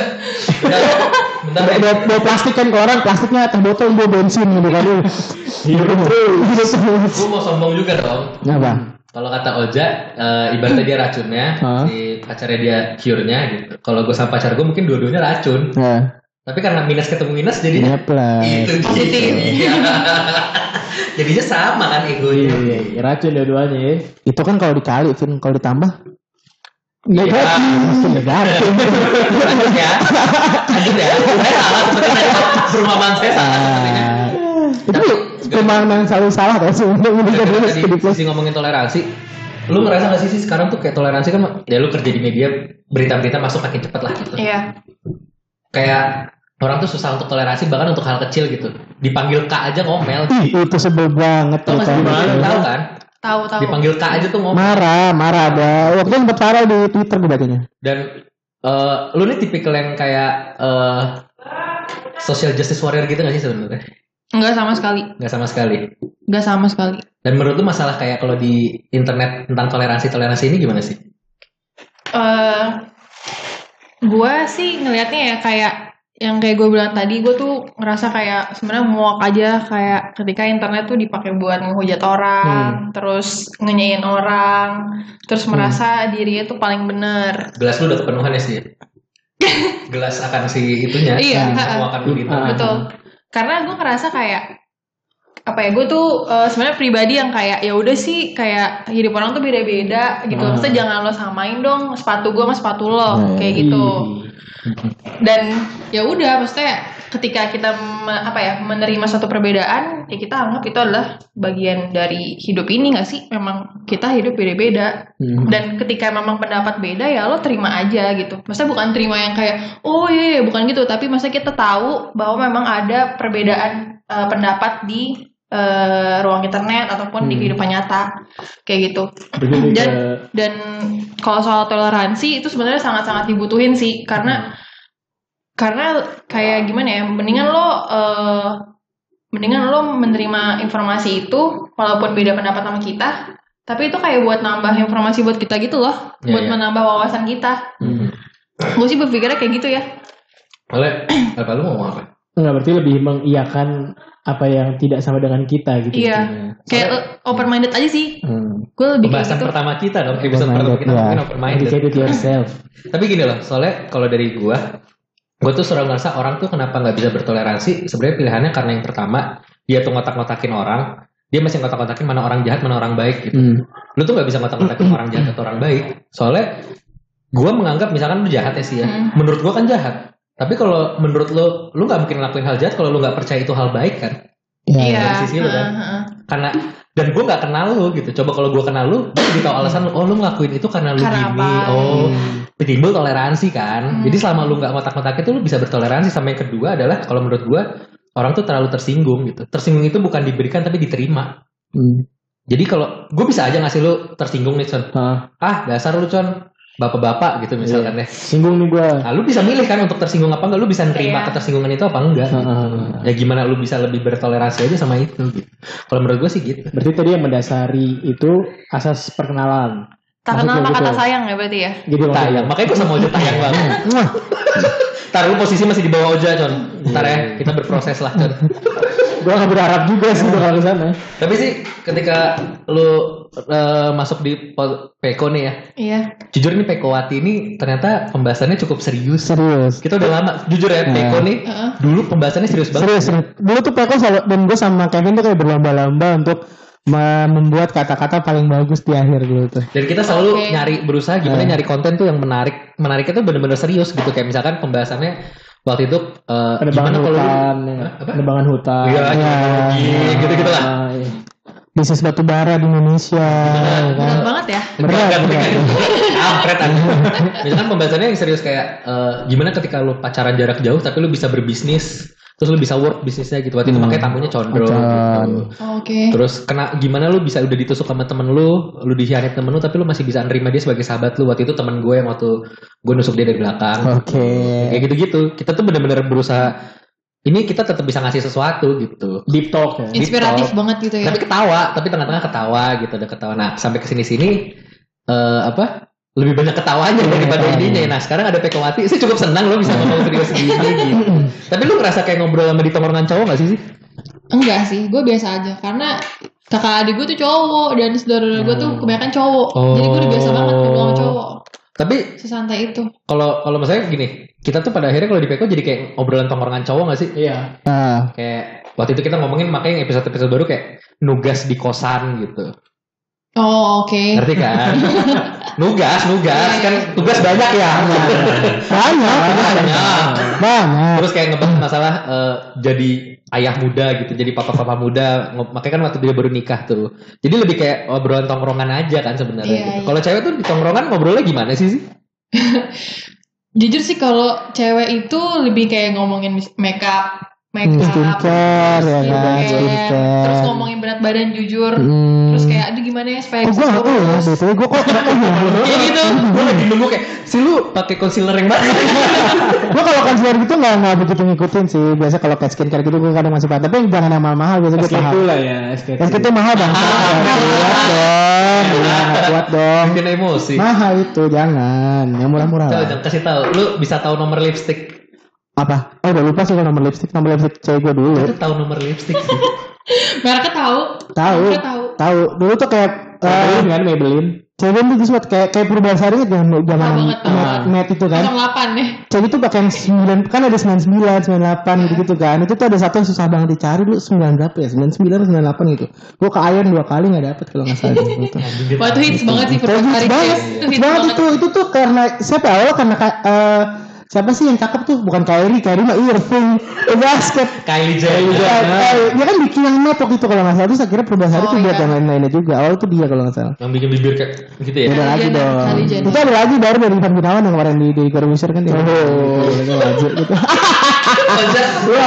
Bentar
Bawa,
deh.
bawa- bawa plastik kan ke orang, plastiknya teh botol gue bensin gitu kan.
Gue mau sombong juga dong.
Nah, bang.
Kalau kata Oja, eh, ibaratnya dia racunnya,
Hah?
si pacarnya dia cure-nya gitu. Kalau gue sama pacar gue mungkin dua-duanya racun.
Nah,
Tapi karena minus ketemu minus jadinya
ini
itu
plus.
positif. jadinya sama kan egonya.
Iya, iya, racun dua-duanya ya.
Itu kan kalau dikali, Vin. kalau ditambah negatif.
Sakit
Negatif.
Iya, ya. Sakit ya. Saya salah sebenarnya. Perumpamaan saya salah sebenarnya.
Ah. Itu pemahaman yang selalu salah kan sebenarnya ini
Iya,
kan
Tapi
harus
tadi
jadi plus.
sisi ngomongin toleransi lu ngerasa gak sih sih sekarang tuh kayak toleransi kan ya lu kerja di media berita-berita masuk makin cepet lah gitu
Iya.
kayak orang tuh susah untuk toleransi bahkan untuk hal kecil gitu dipanggil kak aja ngomel
Ih, itu sebel banget
tau
tuh
gak sih
kan.
gimana? Tahu kan
Hmm. Tahu tahu.
dipanggil kak aja tuh ngomel
Marah, marah ada. Waktu itu sempat viral di Twitter gue bacanya.
dan eh, lu nih tipikal yang kayak eh, social justice warrior gitu gak sih sebenarnya
Enggak sama sekali.
nggak sama sekali
Enggak sama sekali.
dan menurut lu masalah kayak kalau di internet tentang toleransi toleransi ini gimana sih
eh gue sih ngelihatnya ya kayak yang kayak gue bilang tadi gue tuh ngerasa kayak sebenarnya muak aja kayak ketika internet tuh dipakai buat menghujat orang terus ngenyain orang terus merasa dirinya tuh paling bener
gelas lu udah kepenuhan ya sih gelas akan si itunya
Iya,
si
ha-ha.
semua akan begitu
Ah.
betul karena gue ngerasa kayak apa ya gue tuh eh, sebenarnya pribadi yang kayak ya udah sih kayak hidup orang tuh beda-beda gitu
Hmm.
maksudnya jangan lo samain dong sepatu gue sama sepatu lo
Hmm.
kayak gitu dan ya udah maksudnya ketika kita me- apa ya menerima satu perbedaan ya kita anggap itu adalah bagian dari hidup ini nggak sih memang kita hidup beda-beda dan ketika memang pendapat beda ya lo terima aja gitu maksudnya bukan terima yang kayak oh iya iya," bukan gitu tapi maksudnya kita tahu bahwa memang ada perbedaan eh, pendapat di eh, ruang internet ataupun di kehidupan nyata kayak gitu
Begini
dan
ke
dan kalau soal toleransi itu sebenarnya sangat-sangat dibutuhin sih
Hmm.
karena karena kayak gimana ya mendingan lo eh, mendingan lo menerima informasi itu walaupun beda pendapat sama kita tapi itu kayak buat nambah informasi buat kita gitu loh
Iya,
buat
iya.
menambah wawasan kita
Hmm.
gue sih berpikirnya kayak gitu ya
oleh apa lu mau ngomong apa
Enggak berarti lebih mengiyakan apa yang tidak sama dengan kita
ya.
gitu.
Iya.
intinya.
kayak open minded aja sih
Hmm.
gue lebih kayak
pembahasan
gitu
pertama kita dong episode
Open-minded,
pertama kita
ya.
mungkin open minded
Educate yourself.
tapi gini loh soalnya kalau dari gua gua tuh selalu ngerasa orang tuh kenapa nggak bisa bertoleransi sebenarnya pilihannya karena yang pertama dia tuh ngotak-ngotakin orang dia masih ngotak-ngotakin mana orang jahat mana orang baik gitu
Hmm.
lu tuh nggak bisa ngotak-ngotakin orang jahat atau orang baik soalnya gua menganggap misalkan lu jahat ya sih ya
Hmm.
menurut gua kan jahat tapi kalau menurut lu lu nggak mungkin ngelakuin hal jahat kalau lu nggak percaya itu hal baik kan
iya
dari sisi lu kan.
heeh, heeh.
karena dan gue nggak kenal lu gitu coba kalau gue kenal lu gue jadi tahu alasan lu oh lu ngelakuin itu karena lu
Karena
gini
apa?
oh timbul toleransi kan
Hmm.
jadi selama lu nggak ngotak-ngotak itu lu bisa bertoleransi sama yang kedua adalah kalau menurut gue orang tuh terlalu tersinggung gitu tersinggung itu bukan diberikan tapi diterima
Hmm.
jadi kalau gue bisa aja ngasih lu tersinggung nih con
Ah,
ah dasar lu con bapak-bapak gitu misalkan ya
singgung nih gua.
nah, lu bisa milih kan untuk tersinggung apa enggak lu bisa nerima
Iya.
ketersinggungan itu apa enggak
Ah, ah, ah.
ya gimana lu bisa lebih bertoleransi aja sama itu gitu kalau menurut gue sih gitu
Berarti tadi yang mendasari itu asas perkenalan.
tak kenal
Maksudnya
tak kata
gitu.
sayang ya berarti ya
Gitu
tayang.
maksudnya.
Makanya gue sama Oja tayang banget. Ntar lu posisi masih di bawah Oja, Con. Ntar ya, kita berproses lah, Con.
Gua nggak berharap juga sih bakal ke sana.
Tapi sih, ketika lu eh, masuk di po- Peko nih ya,
iya
jujur nih Pekowati ini ternyata pembahasannya cukup serius.
Serius.
Kita udah lama, jujur ya, Peko nih,
Heeh.
dulu pembahasannya serius banget.
Serius, serius. Dulu tuh Peko sama- dan gue sama Kevin tuh kayak berlomba-lomba untuk me- membuat kata-kata paling bagus di akhir dulu tuh.
Dan kita selalu
Oke.
nyari berusaha gimana nyari konten tuh yang menarik, menariknya tuh bener-bener serius gitu. Kayak misalkan pembahasannya waktu itu eh,
Penebangan
gimana kalau lu-
hutan, ya.
Hah? Apa?
penebangan hutan.
Iya,
Iya.
iya, gitu-gitu lah.
Ah, iya.
Bisnis batu bara di Indonesia. ya kan?
berat banget ya
Berat,
Berat,
berat.
Kampret aja. Misalkan pembahasannya yang serius kayak eh, gimana ketika lu pacaran jarak jauh tapi lu bisa berbisnis terus lu bisa work bisnisnya gitu waktu itu
Hmm.
makanya tamunya condro
Condro.
gitu.
Oke.
Terus kena gimana lu bisa udah ditusuk sama temen lu, lu dikhianat temen lu tapi lu masih bisa nerima dia sebagai sahabat lu. Waktu itu temen gue yang waktu gue nusuk dia dari belakang.
Oke.
Kayak gitu-gitu. Kita tuh bener-bener berusaha ini kita tetap bisa ngasih sesuatu gitu.
Deep talk ya.
Inspiratif banget gitu ya.
Tapi ketawa, tapi tengah-tengah ketawa gitu, ada ketawa. Nah, sampai ke sini-sini eh, apa? Lebih banyak ketawanya daripada
ketawanya.
ininya. Nah, sekarang ada Pekowati, saya cukup senang lo bisa ngomong serius gini gitu. Tapi lu ngerasa kayak ngobrol sama di tongkrongan cowok gak sih sih?
Enggak sih, gue biasa aja karena kakak adik gue tuh cowok dan saudara gue tuh kebanyakan cowok.
Oh.
Jadi gue udah biasa banget ngobrol sama cowok.
Tapi
Sesantai itu.
kalau kalau misalnya gini kita tuh pada akhirnya kalau di Peko jadi kayak obrolan tongkrongan cowok gak sih
Iya.
Ah,
kayak waktu itu kita ngomongin makanya yang episode-episode baru kayak nugas di kosan gitu
Oh, oke.
ngerti kan nugas nugas kan tugas banyak ya
banyak
banyak
banyak
terus kayak ngebahas masalah eh, jadi ayah muda gitu jadi papa-papa muda Ngob- makanya kan waktu dia baru nikah tuh jadi lebih kayak obrolan tongkrongan aja kan sebenarnya
Iya,
gitu.
iya.
kalau cewek tuh di tongkrongan ngobrolnya gimana sih sih
Jujur sih kalau cewek itu lebih kayak ngomongin mis- makeup,
Hmm,
makeup,
skincare ya kan
skincare, terus
skincare
ngomongin berat badan jujur.
Hmm.
Terus kayak aduh gimana ya supaya
Oh, gue
bisa
nggak tahu ya,
kurus.
biasanya gue kok nggak tahu ya.
kayak gitu gue lagi nunggu kayak si lu pakai concealer yang mana
Gue kalau konsuler gitu nggak nggak begitu ngikutin sih. Biasa kalau kayak skincare gitu gue kadang masih paham. Tapi yang jangan yang mahal-mahal biasa gue paham.
Itu lah ya. SKT.
Yang itu mahal bang. Kuat dong, Iya, nggak kuat dong.
Bikin emosi.
Mahal itu jangan. Yang murah-murah.
Coba
lah.
dong kasih tahu. Lu bisa tahu nomor lipstick.
Apa? Oh udah lupa sih kalau nomor lipstick. Nomor lipstick cewek gue dulu.
Lu tahu nomor lipstick sih.
Mereka tahu.
Tahu, Kan?
Mereka tahu.
tahu. Dulu tuh kayak eh,
Maybelline kan Maybelline.
cewek itu sempat kayak kayak perubahan sehari kan zaman zaman
Tahu banget, tahu
net, net itu kan.
08 ya.
Cewek itu pakai yang 9 kan ada 99,
Iya.
98 gitu, gitu kan. Itu tuh ada satu yang susah banget dicari dulu 9 berapa ya? 99 atau 98 gitu. Gua ke Iron dua kali nggak dapet kalau nggak salah gitu.
Waktu itu hits banget sih
Terus
pertama kali gitu.
banget,
Itu
hits
hits
banget itu itu tuh karena siapa ya? Awalnya karena ka- eh, siapa sih yang cakep tuh? Bukan Kyrie, Kyrie mah Irving, Eh, basket.
Kylie Jenner.
Eh, eh, Dia kan bikin yang map waktu itu kalau nggak salah. Terus akhirnya perubahan hari
Oh,
itu buat
iya.
yang lain-lainnya juga. Awal itu dia kalau nggak salah.
Yang bikin bibir kayak gitu ya.
Beda
Kylie
lagi
Jenner,
dong.
Kylie Jenner.
Itu ada lagi baru dari Ivan Gunawan yang kemarin di di Corbusier kan.
iya,
Oh, itu wajib gitu. Iya,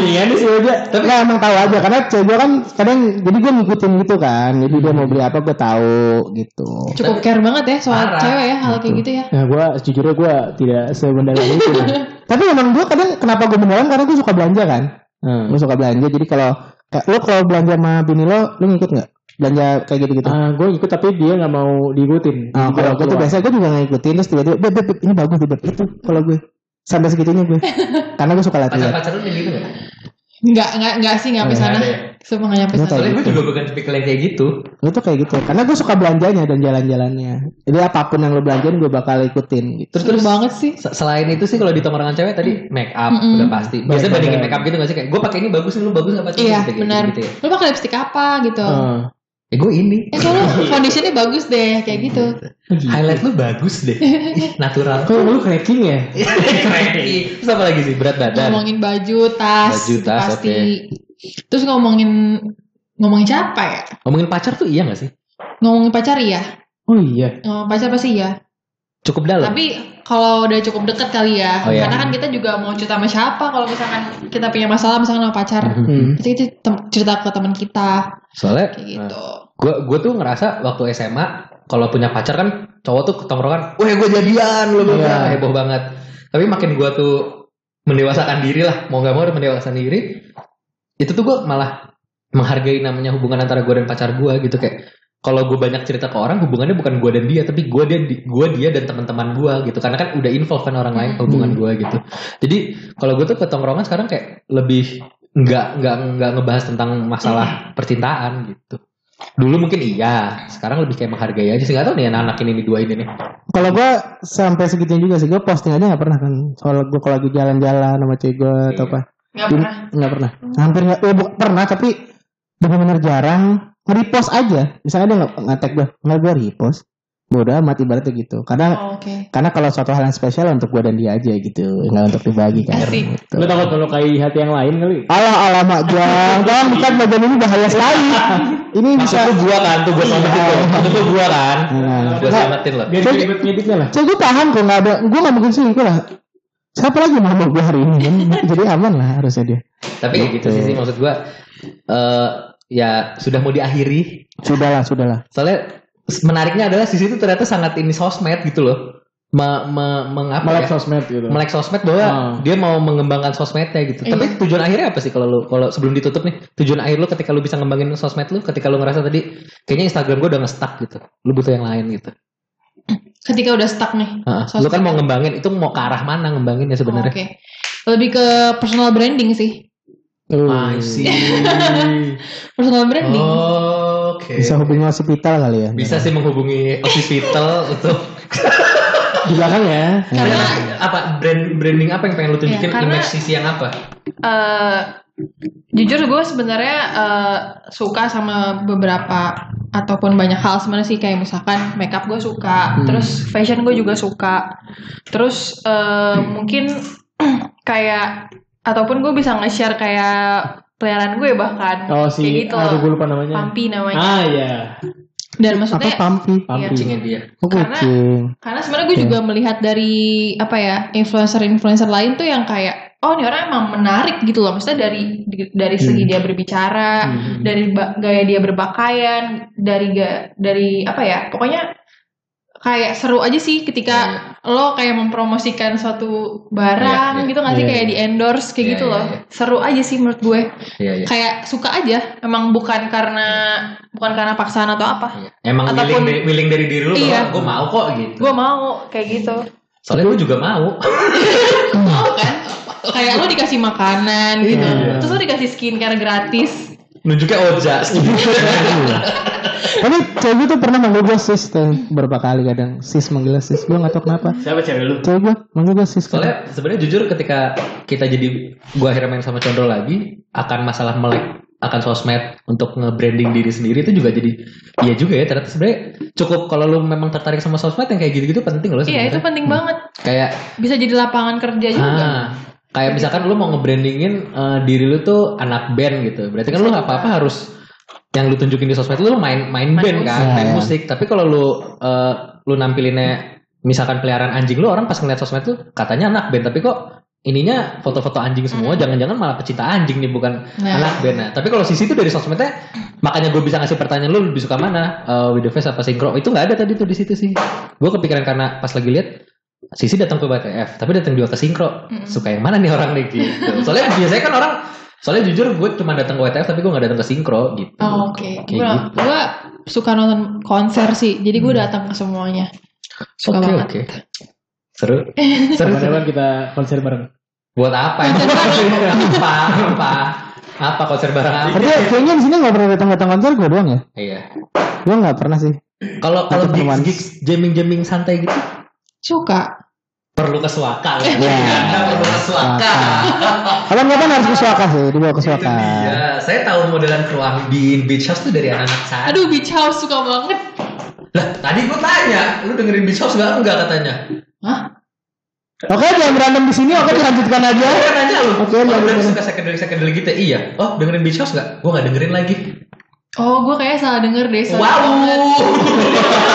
Iya,
ini sih udah. Tapi nggak, emang tahu aja karena cewek gue kan kadang jadi gue ngikutin gitu kan. Jadi dia mau beli apa gue tahu gitu.
Cukup care banget ya soal
Parah.
cewek ya hal kayak gitu ya.
Nah gue sejujurnya gue tidak sebenarnya itu.
ya. Tapi emang gue kadang kenapa gue beneran karena gue suka belanja kan.
Hmm.
Gue suka belanja jadi kalau kayak lo kalau belanja sama bini lo lo ngikut nggak? Belanja kayak gitu gitu.
Ah, gue ikut tapi dia nggak mau diikutin.
Nah, kalau gue tuh
Ah, Keluar.
biasa gue juga ngikutin terus tiba-tiba beb, beb, beb, ini bagus nih, beb itu kalau gue sampai segitunya gue karena gue suka latihan.
Pacar-pacar lu kayak gitu gak?
Enggak, enggak, enggak sih, enggak sampai
Nggak
sana.
ada ya?
Sumpah enggak nyampe
Nggak
sana.
tahu.
Soalnya gue juga bukan tipikal yang kayak gitu.
Gue tuh kayak gitu karena gue suka belanjanya dan jalan-jalannya. Jadi apapun yang lo belanjain gue bakal ikutin gitu.
Terus
Seru
terus
banget sih.
se- selain itu sih kalau di tongkrongan cewek tadi
Hmm.
make up
Mm-mm.
udah pasti. Biasanya
Baik,
bandingin
baik.
make up gitu gak sih kayak gue pakai ini bagus nih lu bagus apa sih?
Iya,
Gitu, gitu,
benar.
Gitu, ya.
Lu pakai lipstick apa gitu?
Ah.
Ya gue ini.
Ya soalnya foundationnya bagus deh kayak gitu.
Highlight lu bagus deh. Ih, Natural.
Kok lu cracking ya?
Keren. Terus apa lagi sih berat badan?
Ngomongin baju, tas,
Baju, tas,
pasti. Terus ngomongin ngomongin siapa ya?
Ngomongin pacar tuh iya gak sih?
Ngomongin pacar iya.
Oh iya.
Ngomongin pacar pasti iya.
Cukup dalam. Hmm.
Tapi kalau udah cukup deket kali ya.
Oh, iya.
Karena kan kita juga mau cerita sama siapa kalau misalkan kita punya masalah misalkan sama pacar.
Mm-hmm.
Hmm.
Pasti kita tem- cerita ke teman kita
Soalnya
kayak gitu.
gue gue tuh ngerasa waktu SMA kalau punya pacar kan cowok tuh ketongkrongan weh gue jadian lu
Iya.
yeah. heboh banget tapi makin gue tuh mendewasakan diri lah mau gak mau udah mendewasakan diri itu tuh gue malah menghargai namanya hubungan antara gue dan pacar gue gitu kayak kalau gue banyak cerita ke orang hubungannya bukan gue dan dia tapi gue dan gue dia dan teman-teman gue gitu karena kan udah involve kan orang lain ke hubungan gue gitu jadi kalau gue tuh ketongkrongan sekarang kayak lebih nggak nggak nggak ngebahas tentang masalah percintaan gitu dulu mungkin iya sekarang lebih kayak menghargai aja sih nggak tahu nih anak-anak ini nih dua ini nih
Kalau gue sampai segitunya juga sih gue posting aja nggak pernah kan. Soal gue kalau lagi jalan-jalan sama cewek gue atau apa
Gak
Di-
pernah.
nggak pernah. Hampir nggak. Ya, bu- pernah tapi benar-benar jarang. Nge-repost aja. Misalnya dia nggak ngetek gue, nggak gue repost. Bodoh amat ibaratnya
Ah.
gitu. Karena
Oh, Oke.
karena kalau suatu hal yang spesial untuk gue dan dia aja gitu, nggak untuk dibagi kan.
Asik.
Gitu.
Lu takut melukai hati yang lain kali?
Alah alah mak jang, Bang, bukan bagian ini bahaya sekali. Ini bisa. Iya.
tuh gua kan tuh gua selamatin tuh itu tuh gua kan
Nah,
gua selamatin loh
Biar
Saya-
ribet nyediknya lah.
Cewek gue paham kok nggak ada, gue nggak mungkin selingkuh lah. siapa lagi nama gue hari ini kan jadi aman lah harusnya dia
Tapi kayak gitu sih, sih maksud gue. eh ya sudah mau diakhiri.
sudahlah sudahlah
Soalnya s- menariknya adalah sisi itu ternyata sangat ini sosmed gitu loh. Me, me- mengapa
melek
ya?
sosmed gitu
melek sosmed bahwa
Ah.
dia mau mengembangkan sosmednya gitu.
Iya.
Tapi tujuan akhirnya apa sih kalau lu kalau sebelum ditutup nih? Tujuan akhir lu ketika lu bisa ngembangin sosmed lu ketika lu ngerasa tadi kayaknya Instagram gua udah nge-stuck gitu. Lu butuh yang lain gitu.
Ketika udah stuck nih.
Heeh.
Sosmed.
Lu kan mau ngembangin itu mau ke arah mana ngembangin ya sebenarnya?
Oh, Oke. Lebih ke personal branding sih.
I see.
Personal branding.
Oh. Oke.
bisa hubungi hospital kali ya
Bisa sih menghubungi Office Vital untuk
di belakang ya
Karena
apa brand branding apa yang pengen lu tunjukin
Iya, karena-
image sisi yang apa?
eh jujur gue sebenarnya eh, suka sama beberapa ataupun banyak hal sebenarnya sih kayak misalkan makeup gue suka,
Hmm.
terus fashion gue juga suka, terus eh, mungkin kayak ataupun gue bisa nge-share kayak peliharaan gue bahkan
oh
kayak
si
gitu
aduh gue
loh.
lupa namanya
Pampi namanya
ah ya
dan
apa
maksudnya
pampi
Iya.
Pampi
Kucingnya dia.
oh,
Karena-
kucing
Karena sebenarnya gue juga melihat dari apa ya influencer-influencer lain tuh yang kayak oh ini orang emang menarik gitu loh maksudnya dari di- dari
Hmm.
segi dia berbicara, dari ba- gaya dia berpakaian, dari ga- dari apa ya pokoknya kayak seru aja sih ketika lo kayak mempromosikan suatu barang
Iya, iya.
gitu nggak sih
Iya,
kayak
iya.
di endorse kayak
Iya,
gitu
iya,
loh
iya.
seru aja sih menurut gue
Iya iya.
kayak suka aja emang bukan karena bukan karena paksaan atau apa
Iya. Emang willing
Ataupun-
dari, willing dari diri lu bahwa
Iya.
gue mau kok gitu.
gue mau kayak gitu
Soalnya gue juga mau.
mau kan kayak lu dikasih makanan gitu
Iya.
terus lu dikasih skincare gratis
Nunjuknya Oja.
Iya,
tapi cewek gue tuh pernah manggil gue sis tuh berapa kali kadang sis manggil sis gue nggak tahu kenapa
siapa cewek lu
cewek gue manggil gue sis kadang.
Soalnya sebenarnya jujur ketika kita jadi gua akhirnya main sama Condro lagi akan masalah melek akan sosmed untuk nge-branding diri sendiri itu juga jadi iya juga ya ternyata sebenarnya cukup kalau lu memang tertarik sama sosmed yang kayak gitu-gitu penting loh sebenarnya.
iya itu penting banget
Kayak
bisa jadi lapangan kerja Iya juga
ah, kayak misalkan lu mau nge-brandingin eh, diri lu tuh anak band gitu. Berarti kan lu apa-apa harus yang lu tunjukin di sosmed lu main main band kan,
musik.
main
Iya.
musik. Tapi kalau lu eh, lu nampilinnya misalkan peliharaan anjing lu orang pas ngeliat sosmed tuh katanya anak band, tapi kok ininya foto-foto anjing semua, jangan-jangan malah pecinta anjing nih bukan
Nah.
anak band. Nah, tapi kalau sisi itu dari sosmednya makanya gue bisa ngasih pertanyaan lu lebih suka mana? Eh, with the face apa sinkro? Itu nggak ada tadi tuh di situ sih. Gue kepikiran karena pas lagi lihat Sisi datang ke BTF, tapi datang juga ke Sinkro. Suka yang mana nih orang nih gitu. Soalnya biasanya kan orang soalnya jujur gue cuma datang ke WTF tapi gue nggak datang ke Sinkro gitu.
oh, oke
Kayak gitu.
gue gue suka nonton konser sih jadi gue datang ke semuanya
Oke
suka
Hmm. oke.
banget
Seru. Seru. seru.
kapan kita konser bareng
Buat apa? emang? apa? Apa? Apa konser bareng apa?
Iya.
Tapi kayaknya di sini nggak pernah datang-datang konser gue doang ya.
Iya.
Gue nggak pernah sih.
Kalau kalau gigs
Atau pertemuan.
gigs jamming jamming santai gitu
suka
perlu ke Suaka. lah.
Iya.
perlu ke Suaka.
Kapan-kapan harus ke Suaka sih, dibawa ke
Itu
Suaka.
dia. Saya tahu modelan ruang di Beach House tuh dari anak-anak saya.
aduh beach house suka banget
Lah, tadi gue tanya, lu dengerin Beach House nggak? Enggak katanya.
Hah?
Oke, jangan berantem di sini. Oke, dilanjutkan aja.
Gue kan nanya lu.
Oke,
Oke, lu
lanjut,
udah
lanjut.
suka secondary secondary gitu. Iya. Oh, dengerin Beach House nggak? Gue nggak dengerin lagi.
Oh, gue kayaknya salah denger deh. sorry banget.
Wow.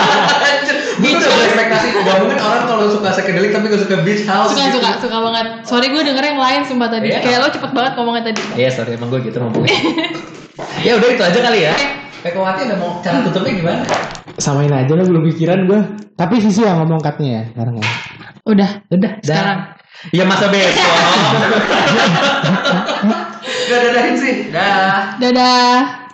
Gue tuh ekspektasi gue mungkin orang kalau suka secondary tapi gak suka Beach House.
Suka,
gitu.
suka, suka banget. Sorry, gue denger yang lain sumpah tadi.
Iya.
Kayak lo cepet banget ngomongnya tadi.
Iya, sorry emang gue gitu ngomongnya. ya udah itu aja kali ya. Pekowati udah mau cara tutupnya gimana?
samain aja lah belum pikiran gue
Tapi Sisi yang ngomong katnya ya sekarang ya.
Udah.
Udah,
Sekarang.
Ya masa besok. Udah dadahin sih. Dah.
Dadah.